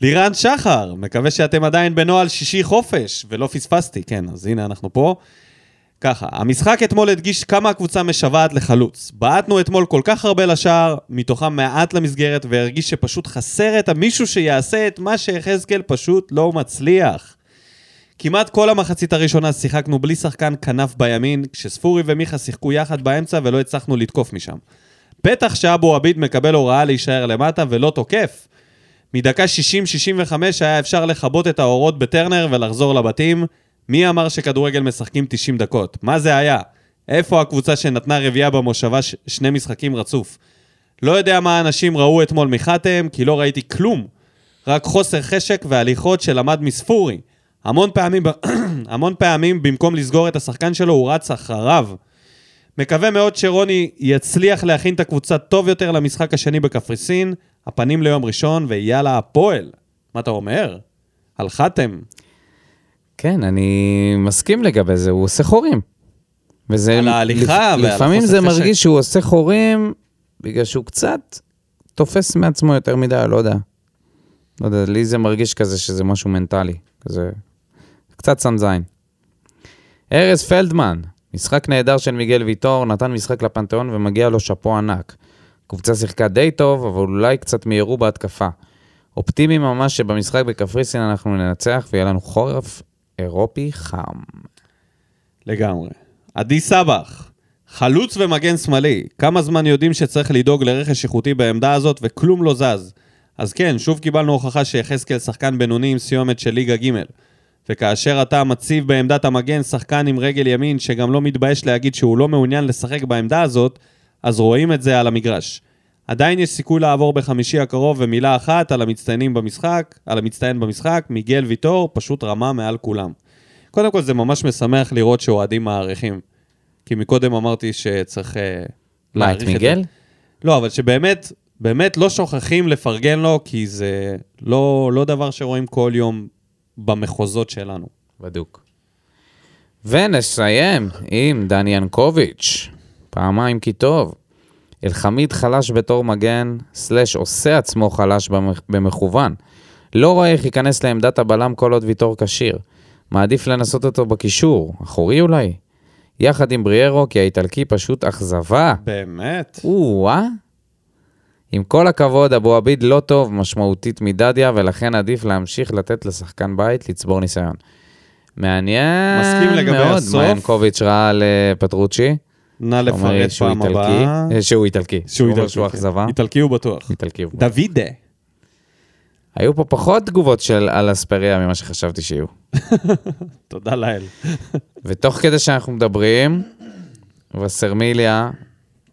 לירן שחר, מקווה שאתם עדיין בנוהל שישי חופש, ולא פספסתי, כן, אז הנה אנחנו פה. ככה, המשחק אתמול הדגיש כמה הקבוצה משוועת לחלוץ. בעטנו אתמול כל כך הרבה לשער, מתוכם מעט למסגרת, והרגיש שפשוט חסר את המישהו שיעשה את מה שיחזקאל פשוט לא מצליח. כמעט כל המחצית הראשונה שיחקנו בלי שחקן כנף בימין, כשספורי ומיכה שיחקו יחד באמצע ולא הצלחנו לתקוף משם. בטח שאבו עביד מקבל הוראה להישאר למטה ולא תוקף. מדקה 60-65 היה אפשר לכבות את האורות בטרנר ולחזור לבתים. מי אמר שכדורגל משחקים 90 דקות? מה זה היה? איפה הקבוצה שנתנה רביעייה במושבה ש- שני משחקים רצוף? לא יודע מה האנשים ראו אתמול מחתם, כי לא ראיתי כלום. רק חוסר חשק והליכות שלמד מספורי. המון פעמים, ב- המון פעמים במקום לסגור את השחקן שלו, הוא רץ אחריו. מקווה מאוד שרוני יצליח להכין את הקבוצה טוב יותר למשחק השני בקפריסין, הפנים ליום ראשון, ויאללה הפועל. מה אתה אומר? על חתם.
כן, אני מסכים לגבי זה, הוא עושה חורים. וזה,
על ההליכה
לפ-
ועל
לפעמים
החוסר
זה
חשק.
מרגיש שהוא עושה חורים בגלל שהוא קצת תופס מעצמו יותר מדי, לא יודע. לא יודע, לי זה מרגיש כזה שזה משהו מנטלי, כזה קצת שם זין. ארז פלדמן, משחק נהדר של מיגל ויטור, נתן משחק לפנתיאון ומגיע לו שאפו ענק. קבוצה שיחקה די טוב, אבל אולי קצת מיהרו בהתקפה. אופטימי ממש שבמשחק בקפריסין אנחנו ננצח ויהיה לנו חורף אירופי חם.
לגמרי. עדי סבח, חלוץ ומגן שמאלי. כמה זמן יודעים שצריך לדאוג לרכש איכותי בעמדה הזאת וכלום לא זז. אז כן, שוב קיבלנו הוכחה שיחזקאל שחקן בינוני עם סיומת של ליגה ג' וכאשר אתה מציב בעמדת המגן שחקן עם רגל ימין שגם לא מתבייש להגיד שהוא לא מעוניין לשחק בעמדה הזאת, אז רואים את זה על המגרש. עדיין יש סיכוי לעבור בחמישי הקרוב, ומילה אחת על המצטיינים במשחק, על המצטיין במשחק, מיגל ויטור, פשוט רמה מעל כולם. קודם כל, זה ממש משמח לראות שאוהדים מעריכים. כי מקודם אמרתי שצריך אה,
מה, את
להעריך את
מיגל?
זה. לא, אבל שבאמת, באמת לא שוכחים לפרגן לו, כי זה לא, לא דבר שרואים כל יום במחוזות שלנו.
בדוק. ונסיים עם דני ינקוביץ', פעמיים כי טוב. אלחמיד חלש בתור מגן, סלאש עושה עצמו חלש במ- במכוון. לא רואה איך ייכנס לעמדת הבלם כל עוד ויטור כשיר. מעדיף לנסות אותו בקישור, אחורי אולי. יחד עם בריארו, כי האיטלקי פשוט אכזבה.
באמת?
או-אה. עם כל הכבוד, אבו עביד לא טוב משמעותית מדדיה, ולכן עדיף להמשיך לתת לשחקן בית לצבור ניסיון. מעניין
מסכים לגבי
מאוד
הסוף.
מה ינקוביץ' ראה על אה, פטרוצ'י.
נא
אומר
לפרט
שהוא
פעם
איטלקי.
הבאה.
אה, שהוא איטלקי.
שהוא
אומר
איטלקי.
שהוא
כן.
אכזבה.
איטלקי הוא בטוח.
איטלקי. הוא בא.
דוידה.
היו פה פחות תגובות של על אספריה ממה שחשבתי שיהיו.
תודה לאל.
ותוך כדי שאנחנו מדברים, וסרמיליה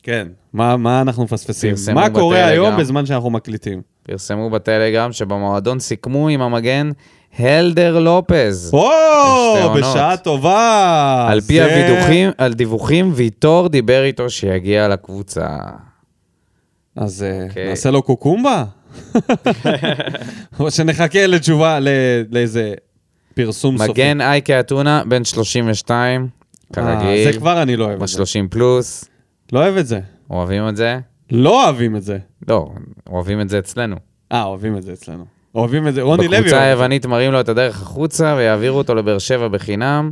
כן. מה, מה אנחנו מפספסים?
פרסמו
מה קורה
בטלגרם.
היום בזמן שאנחנו מקליטים?
פרסמו בטלגרם שבמועדון סיכמו עם המגן הלדר לופז.
או,
שתי עונות.
בשעה טובה!
על פי
זה-
הדיווחים, על דיווחים, ויטור דיבר איתו שיגיע לקבוצה.
אז אה,
אוקיי.
נעשה לו קוקומבה? או שנחכה לתשובה, ל- לאיזה פרסום סופי.
מגן אייקה אתונה, בן 32,
אה,
כרגיל,
זה כבר אני לא אוהב את זה.
ב-30 פלוס,
לא אוהב את זה.
אוהבים את זה?
לא אוהבים את זה.
לא, אוהבים את זה אצלנו.
אה, אוהבים את זה אצלנו. אוהבים את זה. רוני לוי.
בקבוצה
אוהב את זה.
היוונית מראים לו את הדרך החוצה ויעבירו אותו לבאר שבע בחינם,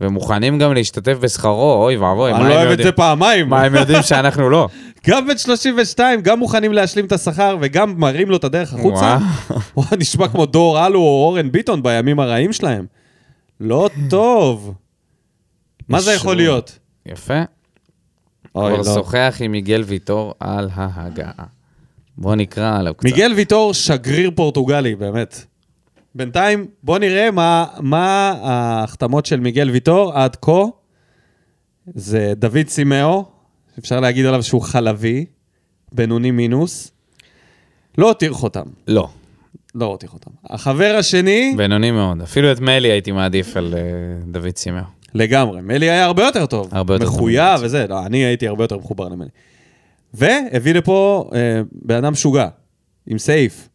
ומוכנים גם להשתתף בשכרו, אוי ואבוי, מה
אני לא
הם
אוהב את
יודעים?
זה פעמיים.
מה הם יודעים שאנחנו לא?
גם בן 32, גם מוכנים להשלים את השכר וגם מראים לו את הדרך החוצה. הוא נשמע כמו דור אלו או אורן ביטון בימים הרעים שלהם. לא טוב. מה זה יכול להיות?
יפה.
אוי,
כבר
לא.
שוחח עם מיגל ויטור על ההגעה. בוא נקרא עליו קצת.
מיגל ויטור, שגריר פורטוגלי, באמת. בינתיים, בוא נראה מה, מה ההחתמות של מיגל ויטור עד כה. זה דוד סימאו, אפשר להגיד עליו שהוא חלבי, בינוני מינוס. לא הותיר חותם.
לא.
לא הותיר חותם. החבר השני, ב...
בינוני מאוד. אפילו את מלי הייתי מעדיף על אה, דוד סימאו.
לגמרי. מלי היה הרבה יותר טוב.
הרבה יותר טוב
מחויב וזה, לא, אני הייתי הרבה יותר מחובר למלי. והביא לפה אה, בן אדם משוגע, עם סעיף.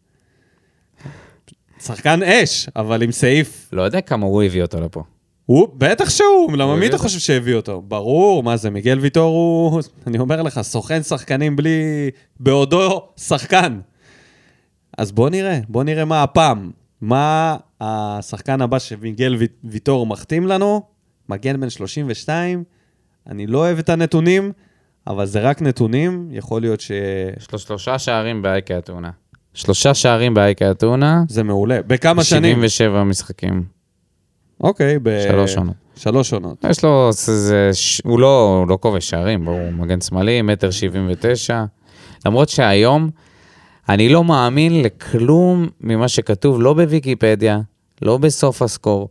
שחקן אש, אבל עם סעיף.
לא יודע כמה הוא הביא אותו לפה.
הוא, בטח שהוא, למה מי
הביא
אתה
אותו?
חושב שהביא אותו? ברור, מה זה, מיגל ויטור הוא, אני אומר לך, סוכן שחקנים בלי... בעודו שחקן. אז בוא נראה, בוא נראה מה הפעם. מה השחקן הבא שמיגל וי- ויטור מחתים לנו? מגן בן 32, אני לא אוהב את הנתונים, אבל זה רק נתונים, יכול להיות שזה
יש לו שלושה שערים באייקה אתונה. שלושה שערים באייקה אתונה,
מעולה. בכמה שנים?
77 משחקים.
אוקיי, ב...
שלוש עונות.
שלוש עונות.
יש לו, זה, זה, ש- הוא לא, הוא לא כובש שערים, ברור, הוא מגן שמאלי, מטר שבעים ותשע. למרות שהיום, אני לא מאמין לכלום ממה שכתוב, לא בוויקיפדיה, לא בסוף הסקור.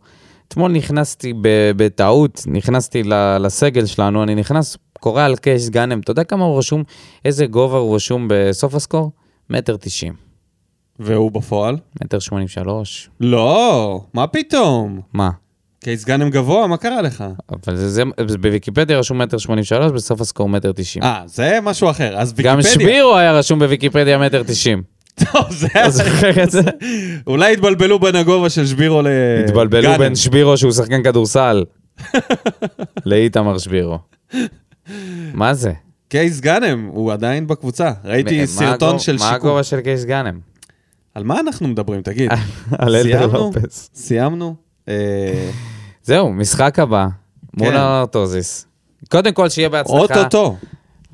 אתמול נכנסתי ב- בטעות, נכנסתי ל- לסגל שלנו, אני נכנס, קורא על קייס גאנם, אתה יודע כמה הוא רשום, איזה גובה הוא רשום בסוף הסקור? מטר תשעים,
והוא בפועל?
מטר שמונים שלוש,
לא, מה פתאום?
מה?
קייס גאנם גבוה, מה קרה לך?
אבל זה, זה, בוויקיפדיה רשום מטר שמונים שלוש, בסוף הסקור מטר תשעים.
אה, זה משהו אחר, אז ויקיפדיה.
גם שבירו היה רשום בוויקיפדיה מטר תשעים.
טוב, זה...
אתה זוכר את זה?
אולי התבלבלו בין הגובה של שבירו לגאנם.
התבלבלו בין שבירו שהוא שחקן כדורסל לאיתמר שבירו. מה זה?
קייס גאנם, הוא עדיין בקבוצה.
מה
ראיתי סרטון
הגובה-
של
מה
שיקום.
הגובה של קייס גאנם?
על מה אנחנו מדברים, תגיד?
על אלדר
סיימנו?
לופס.
סיימנו? אה,
זהו, משחק הבא, מול
כן.
הארטוזיס. קודם כל שיהיה בהצלחה
אוטוטו,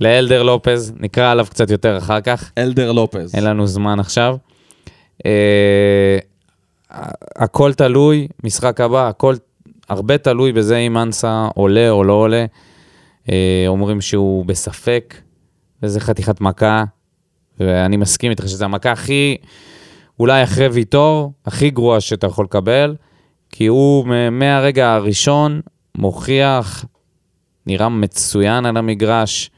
לאלדר לופז, נקרא עליו קצת יותר אחר כך,
אלדר לופז.
אין לנו זמן עכשיו. אה, הכל תלוי, משחק הבא, הכל הרבה תלוי בזה אם אנסה עולה או לא עולה. אה, אומרים שהוא בספק, וזה חתיכת מכה, ואני מסכים איתך שזו המכה הכי, אולי אחרי ויטור, הכי גרועה שאתה יכול לקבל, כי הוא מ- מהרגע הראשון מוכיח, נראה מצוין על המגרש.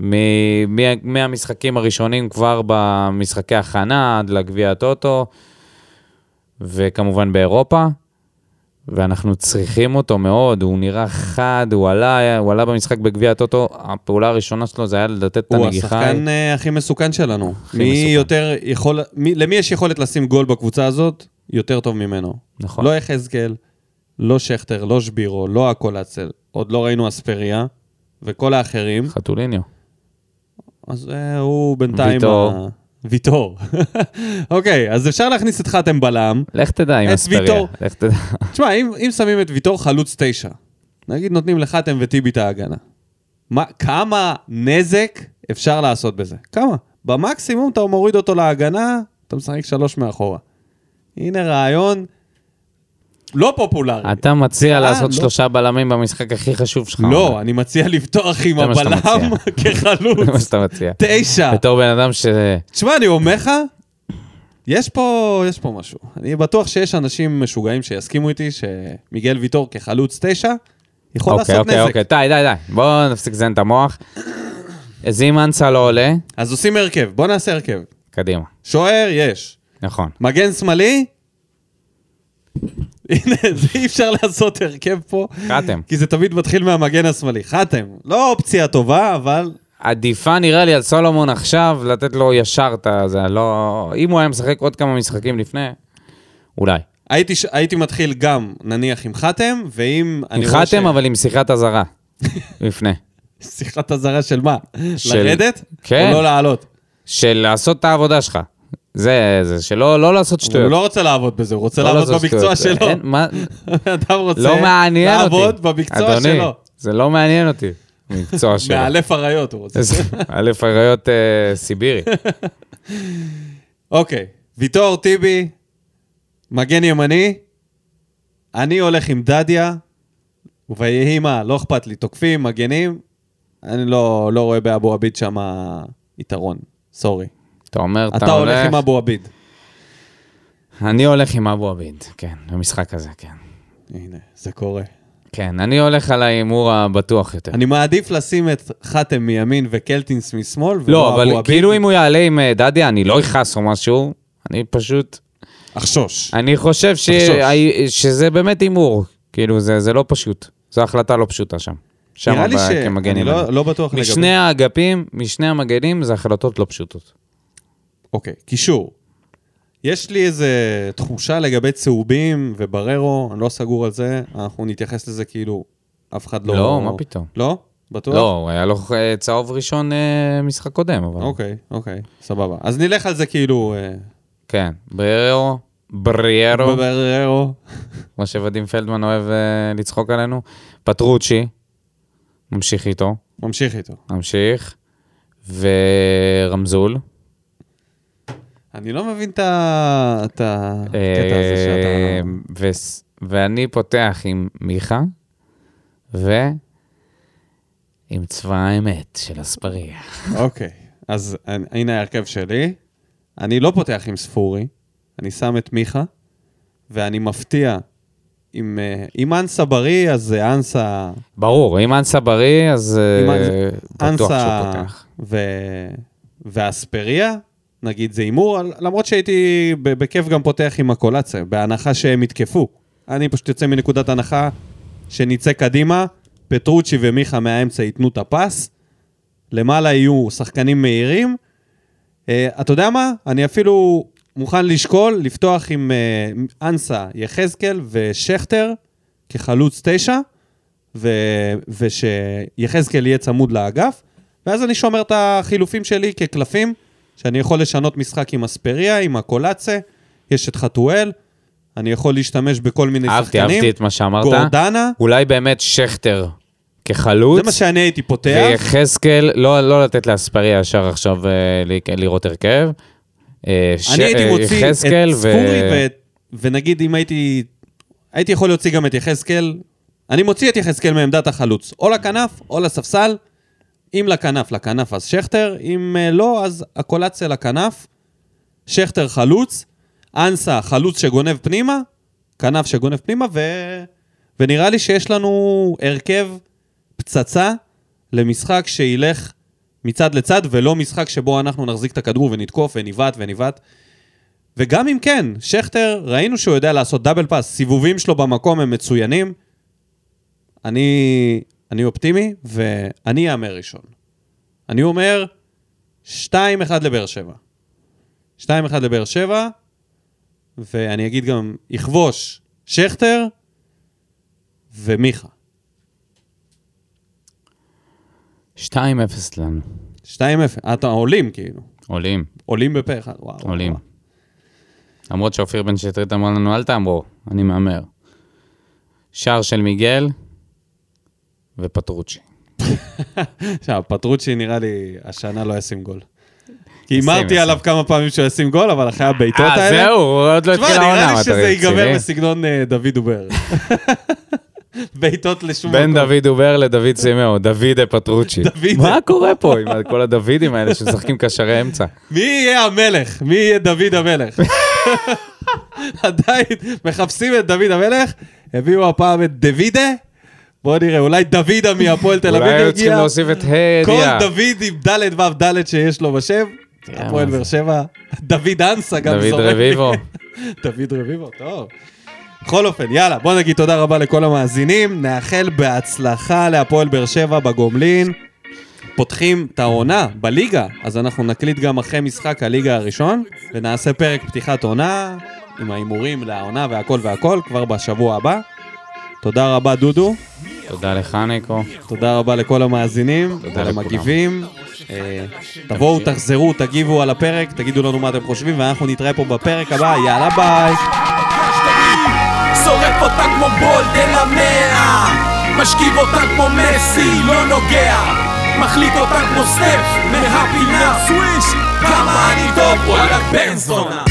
מ- מה- מהמשחקים הראשונים כבר במשחקי הכנה עד לגביע הטוטו, וכמובן באירופה, ואנחנו צריכים אותו מאוד, הוא נראה חד, הוא עלה, הוא עלה במשחק בגביע הטוטו, הפעולה הראשונה שלו זה היה לתת את
הוא
הנגיחה.
השחקן אה, הכי מסוכן שלנו. מי
מסוכן.
יותר יכול... מי- למי יש יכולת לשים גול בקבוצה הזאת? יותר טוב ממנו.
נכון.
לא יחזקאל, לא שכטר, לא שבירו, לא הקולצל. עוד לא ראינו אספריה, וכל האחרים.
חתוליניו.
אז אה, הוא בינתיים...
ויטור.
ה- ויטור. אוקיי, אז אפשר להכניס את חתם בלם.
לך תדע עם
את
אספריה.
ויטור.
לך תדע.
תשמע, אם, אם שמים את ויטור חלוץ תשע, נגיד נותנים לחתם וטיבי את ההגנה, מה, כמה נזק אפשר לעשות בזה? כמה? במקסימום אתה מוריד אותו להגנה, אתה משחק שלוש מאחורה. הנה רעיון לא פופולרי.
אתה מציע
אה,
לעשות
לא.
שלושה בלמים במשחק הכי חשוב שלך. אומר.
לא, אני מציע לפתוח עם
זה מה שאתה
הבלם
זה מה
כחלוץ.
שאתה מציע.
תשע.
בתור בן אדם ש...
תשמע, אני אומר לך, יש פה, יש פה משהו. אני בטוח שיש אנשים משוגעים שיסכימו איתי שמיגל ויטור כחלוץ תשע יכול
אוקיי,
לעשות
אוקיי,
נזק.
אוקיי, די, די, די. בואו נפסיק לזיין את המוח. אז אם אנסה לא עולה,
אז עושים הרכב, בוא נעשה הרכב.
קדימה.
שוער, יש.
נכון.
מגן שמאלי? הנה, זה אי אפשר לעשות הרכב פה.
חתם.
כי זה תמיד מתחיל מהמגן השמאלי. חתם. לא אופציה טובה, אבל...
עדיפה נראה לי על סולומון עכשיו, לתת לו ישר את הזה, לא... אם הוא היה משחק עוד כמה משחקים לפני, אולי.
הייתי, ש... הייתי מתחיל גם, נניח, עם חתם, ואם...
עם חתם, אבל עם שיחת אזהרה. לפני.
שיחת אזהרה של מה?
של-
לרדת?
כן.
או לא לעלות?
של לעשות את העבודה שלך. זה, זה, שלא לא לעשות
אבל הוא
שטויות.
לא רוצה לעבוד בזה, הוא רוצה
לא
לעבוד
לעשות
במקצוע
שטויות.
שלו.
אין, מה-
אדם רוצה
לא מעניין אותי.
לעבוד במקצוע
אדוני,
שלו.
זה לא מעניין אותי, מקצוע שלו.
מאלף עריות הוא רוצה.
איזה- אלף אריות אה, סיבירי.
אוקיי, ויטור, טיבי, מגן ימני, אני הולך עם דדיה, ויהי מה, לא אכפת לי, תוקפים, מגנים, אני לא, לא רואה באבו עביד שם יתרון, סורי.
אתה אומר,
אתה, הולך עם אבו עביד.
אני הולך עם אבו עביד, כן, במשחק הזה, כן.
הנה, זה קורה.
כן, אני הולך על ההימור הבטוח יותר.
אני מעדיף לשים את חתם מימין וקלטינס משמאל, ולא
לא,
אבו
אבל
עביד.
כאילו אם הוא יעלה עם אה, דדיה, אני לא אכעס או משהו, אני פשוט...
אחשוש.
אני חושב ש-
תחשוש.
הי- שזה באמת הימור. כאילו, זה זה לא פשוט. זו החלטה לא פשוטה שם. שם
נראה לי
ב-
ש...
כמגן
אני
ימני.
לא, לא בטוח לגבי...
משני האגפים, משני המגנים, זה החלטות לא פשוטות.
אוקיי, קישור. יש לי איזה תחושה לגבי צהובים ובררו, אני לא סגור על זה, אנחנו נתייחס לזה כאילו אף אחד לא...
לא, מה פתאום.
לא? בטוח?
לא, היה לו אה, צהוב ראשון אה, משחק קודם, אבל...
אוקיי, אוקיי, סבבה. אז נלך על זה כאילו... אה,
כן, בריארו, בריארו,
בררו.
כמו שוודים פלדמן אוהב אה, לצחוק עלינו, פטרוצ'י, ממשיך איתו,
ממשיך איתו.
ממשיך, ורמזול.
אני לא מבין את ה- את הקטע הזה שאתה...
אה, וס- ואני פותח עם מיכה, ועם צבא האמת של אספריה.
אוקיי, אז אני- הנה ההרכב שלי. אני לא פותח עם ספורי, אני שם את מיכה, ואני מפתיע. עם, אה, אם אנסה בריא, אז זה אנסה...
ברור, אם אנסה בריא, אז
אם
אה,
אנס-
בטוח שהוא
אנסה
פותח.
ו... ואספריה, נגיד זה הימור, על- למרות שהייתי ב- בכיף גם פותח עם הקולציה, בהנחה שהם יתקפו. אני פשוט יוצא מנקודת הנחה שנצא קדימה, פטרוצ'י ומיכה מהאמצע ייתנו את הפס, למעלה יהיו שחקנים מהירים. אה, אתה יודע מה? אני אפילו מוכן לשקול לפתוח עם אה, אנסה, יחזקאל ושכטר כחלוץ תשע. ו- ושיחזקאל יהיה צמוד לאגף, ואז אני שומר את החילופים שלי כקלפים, שאני יכול לשנות משחק עם אספריה, עם הקולאצה, יש את חתואל, אני יכול להשתמש בכל מיני
אהבתי,
שחקנים.
אהבתי את מה שאמרת.
גורדנה,
אולי באמת שכטר
זה מה
כחלוץ,
שאני הייתי פותח.
ויחזקאל, לא לא לתת לאספריה ישר עכשיו אה, ל- לראות הרכב. אה, ש-
אני הייתי
אה,
מוציא את
יחזקאל
ספורי,
ו-
ו... ונגיד אם הייתי... הייתי יכול להוציא גם את יחזקאל. אני מוציא את יחזקאל מעמדת החלוץ, או לכנף או לספסל. אם לכנף, לכנף אז שכטר, אם אה, לא, אז הקולציה לכנף, שכטר חלוץ, אנסה חלוץ שגונב פנימה, כנף שגונב פנימה, ו... ונראה לי שיש לנו הרכב פצצה למשחק שילך מצד לצד, ולא משחק שבו אנחנו נחזיק את הכדור ונתקוף ונבעט ונבעט. וגם אם כן, שכטר, ראינו שהוא יודע לעשות דאבל פאס, סיבובים שלו במקום הם מצוינים. אני, אני אופטימי, ואני אאמר ראשון. אני אומר, 2-1 לבאר שבע. 2-1 לבאר שבע, ואני אגיד גם, יכבוש שכטר ומיכה.
2-0 לנו.
2-0. אתה עולים, כאילו.
עולים,
עולים בפה אחד, וואו. וואו,
עולים.
וואו.
למרות שאופיר בן שטרית אמר לנו, אל תאמרו, אני מהמר. שער של מיגל ופטרוצ'י.
עכשיו, פטרוצ'י נראה לי, השנה לא ישים גול. כי
ישים,
הימרתי
ישים.
עליו כמה פעמים שהוא ישים גול, אבל אחרי הבעיטות
אה,
האלה...
זהו, הוא עוד לא
תשמע,
התחיל
נראה
העונה,
לי
אתה
שזה ייגמר
רציני?
בסגנון אה, דוד דובר. בעיטות לשום
בין
מקום.
דוד דובר לדוד סימאו, דוידה פטרוצ'י.
דוידה.
מה קורה פה עם כל הדוידים האלה שמשחקים קשרי אמצע?
מי יהיה המלך? מי יהיה דוד המלך? עדיין מחפשים את דוד המלך, הביאו הפעם את דוידה. בוא נראה, אולי דוידה מהפועל תל אביב
אולי
הגיע.
היו צריכים להוסיף את ה'
כל
ידיעה.
דוד עם ד' ו' ד' שיש לו בשם.
תראה
הפועל
מה זה.
באר שבע. דוד אנסה גם זורק.
דוד
לי.
רביבו.
דוד רביבו, טוב. בכל אופן, יאללה, בוא נגיד תודה רבה לכל המאזינים, נאחל בהצלחה להפועל באר שבע בגומלין. פותחים את העונה בליגה, אז אנחנו נקליט גם אחרי משחק הליגה הראשון, ונעשה פרק פתיחת עונה, עם ההימורים לעונה והכל והכל, כבר בשבוע הבא. תודה רבה, דודו.
תודה לך, ניקו.
תודה רבה לכל המאזינים,
תודה לכולם.
למגיבים. אה, תבואו, תחזרו, תגיבו על הפרק, תגידו לנו מה אתם חושבים, ואנחנו נתראה פה בפרק הבא, יאללה ביי.
שורף אותה כמו בולד אל המאה משכיב אותה כמו מסי, לא נוגע מחליט אותה כמו סטף מהפינה סוויש כמה אני טוב, וואלה בן זונה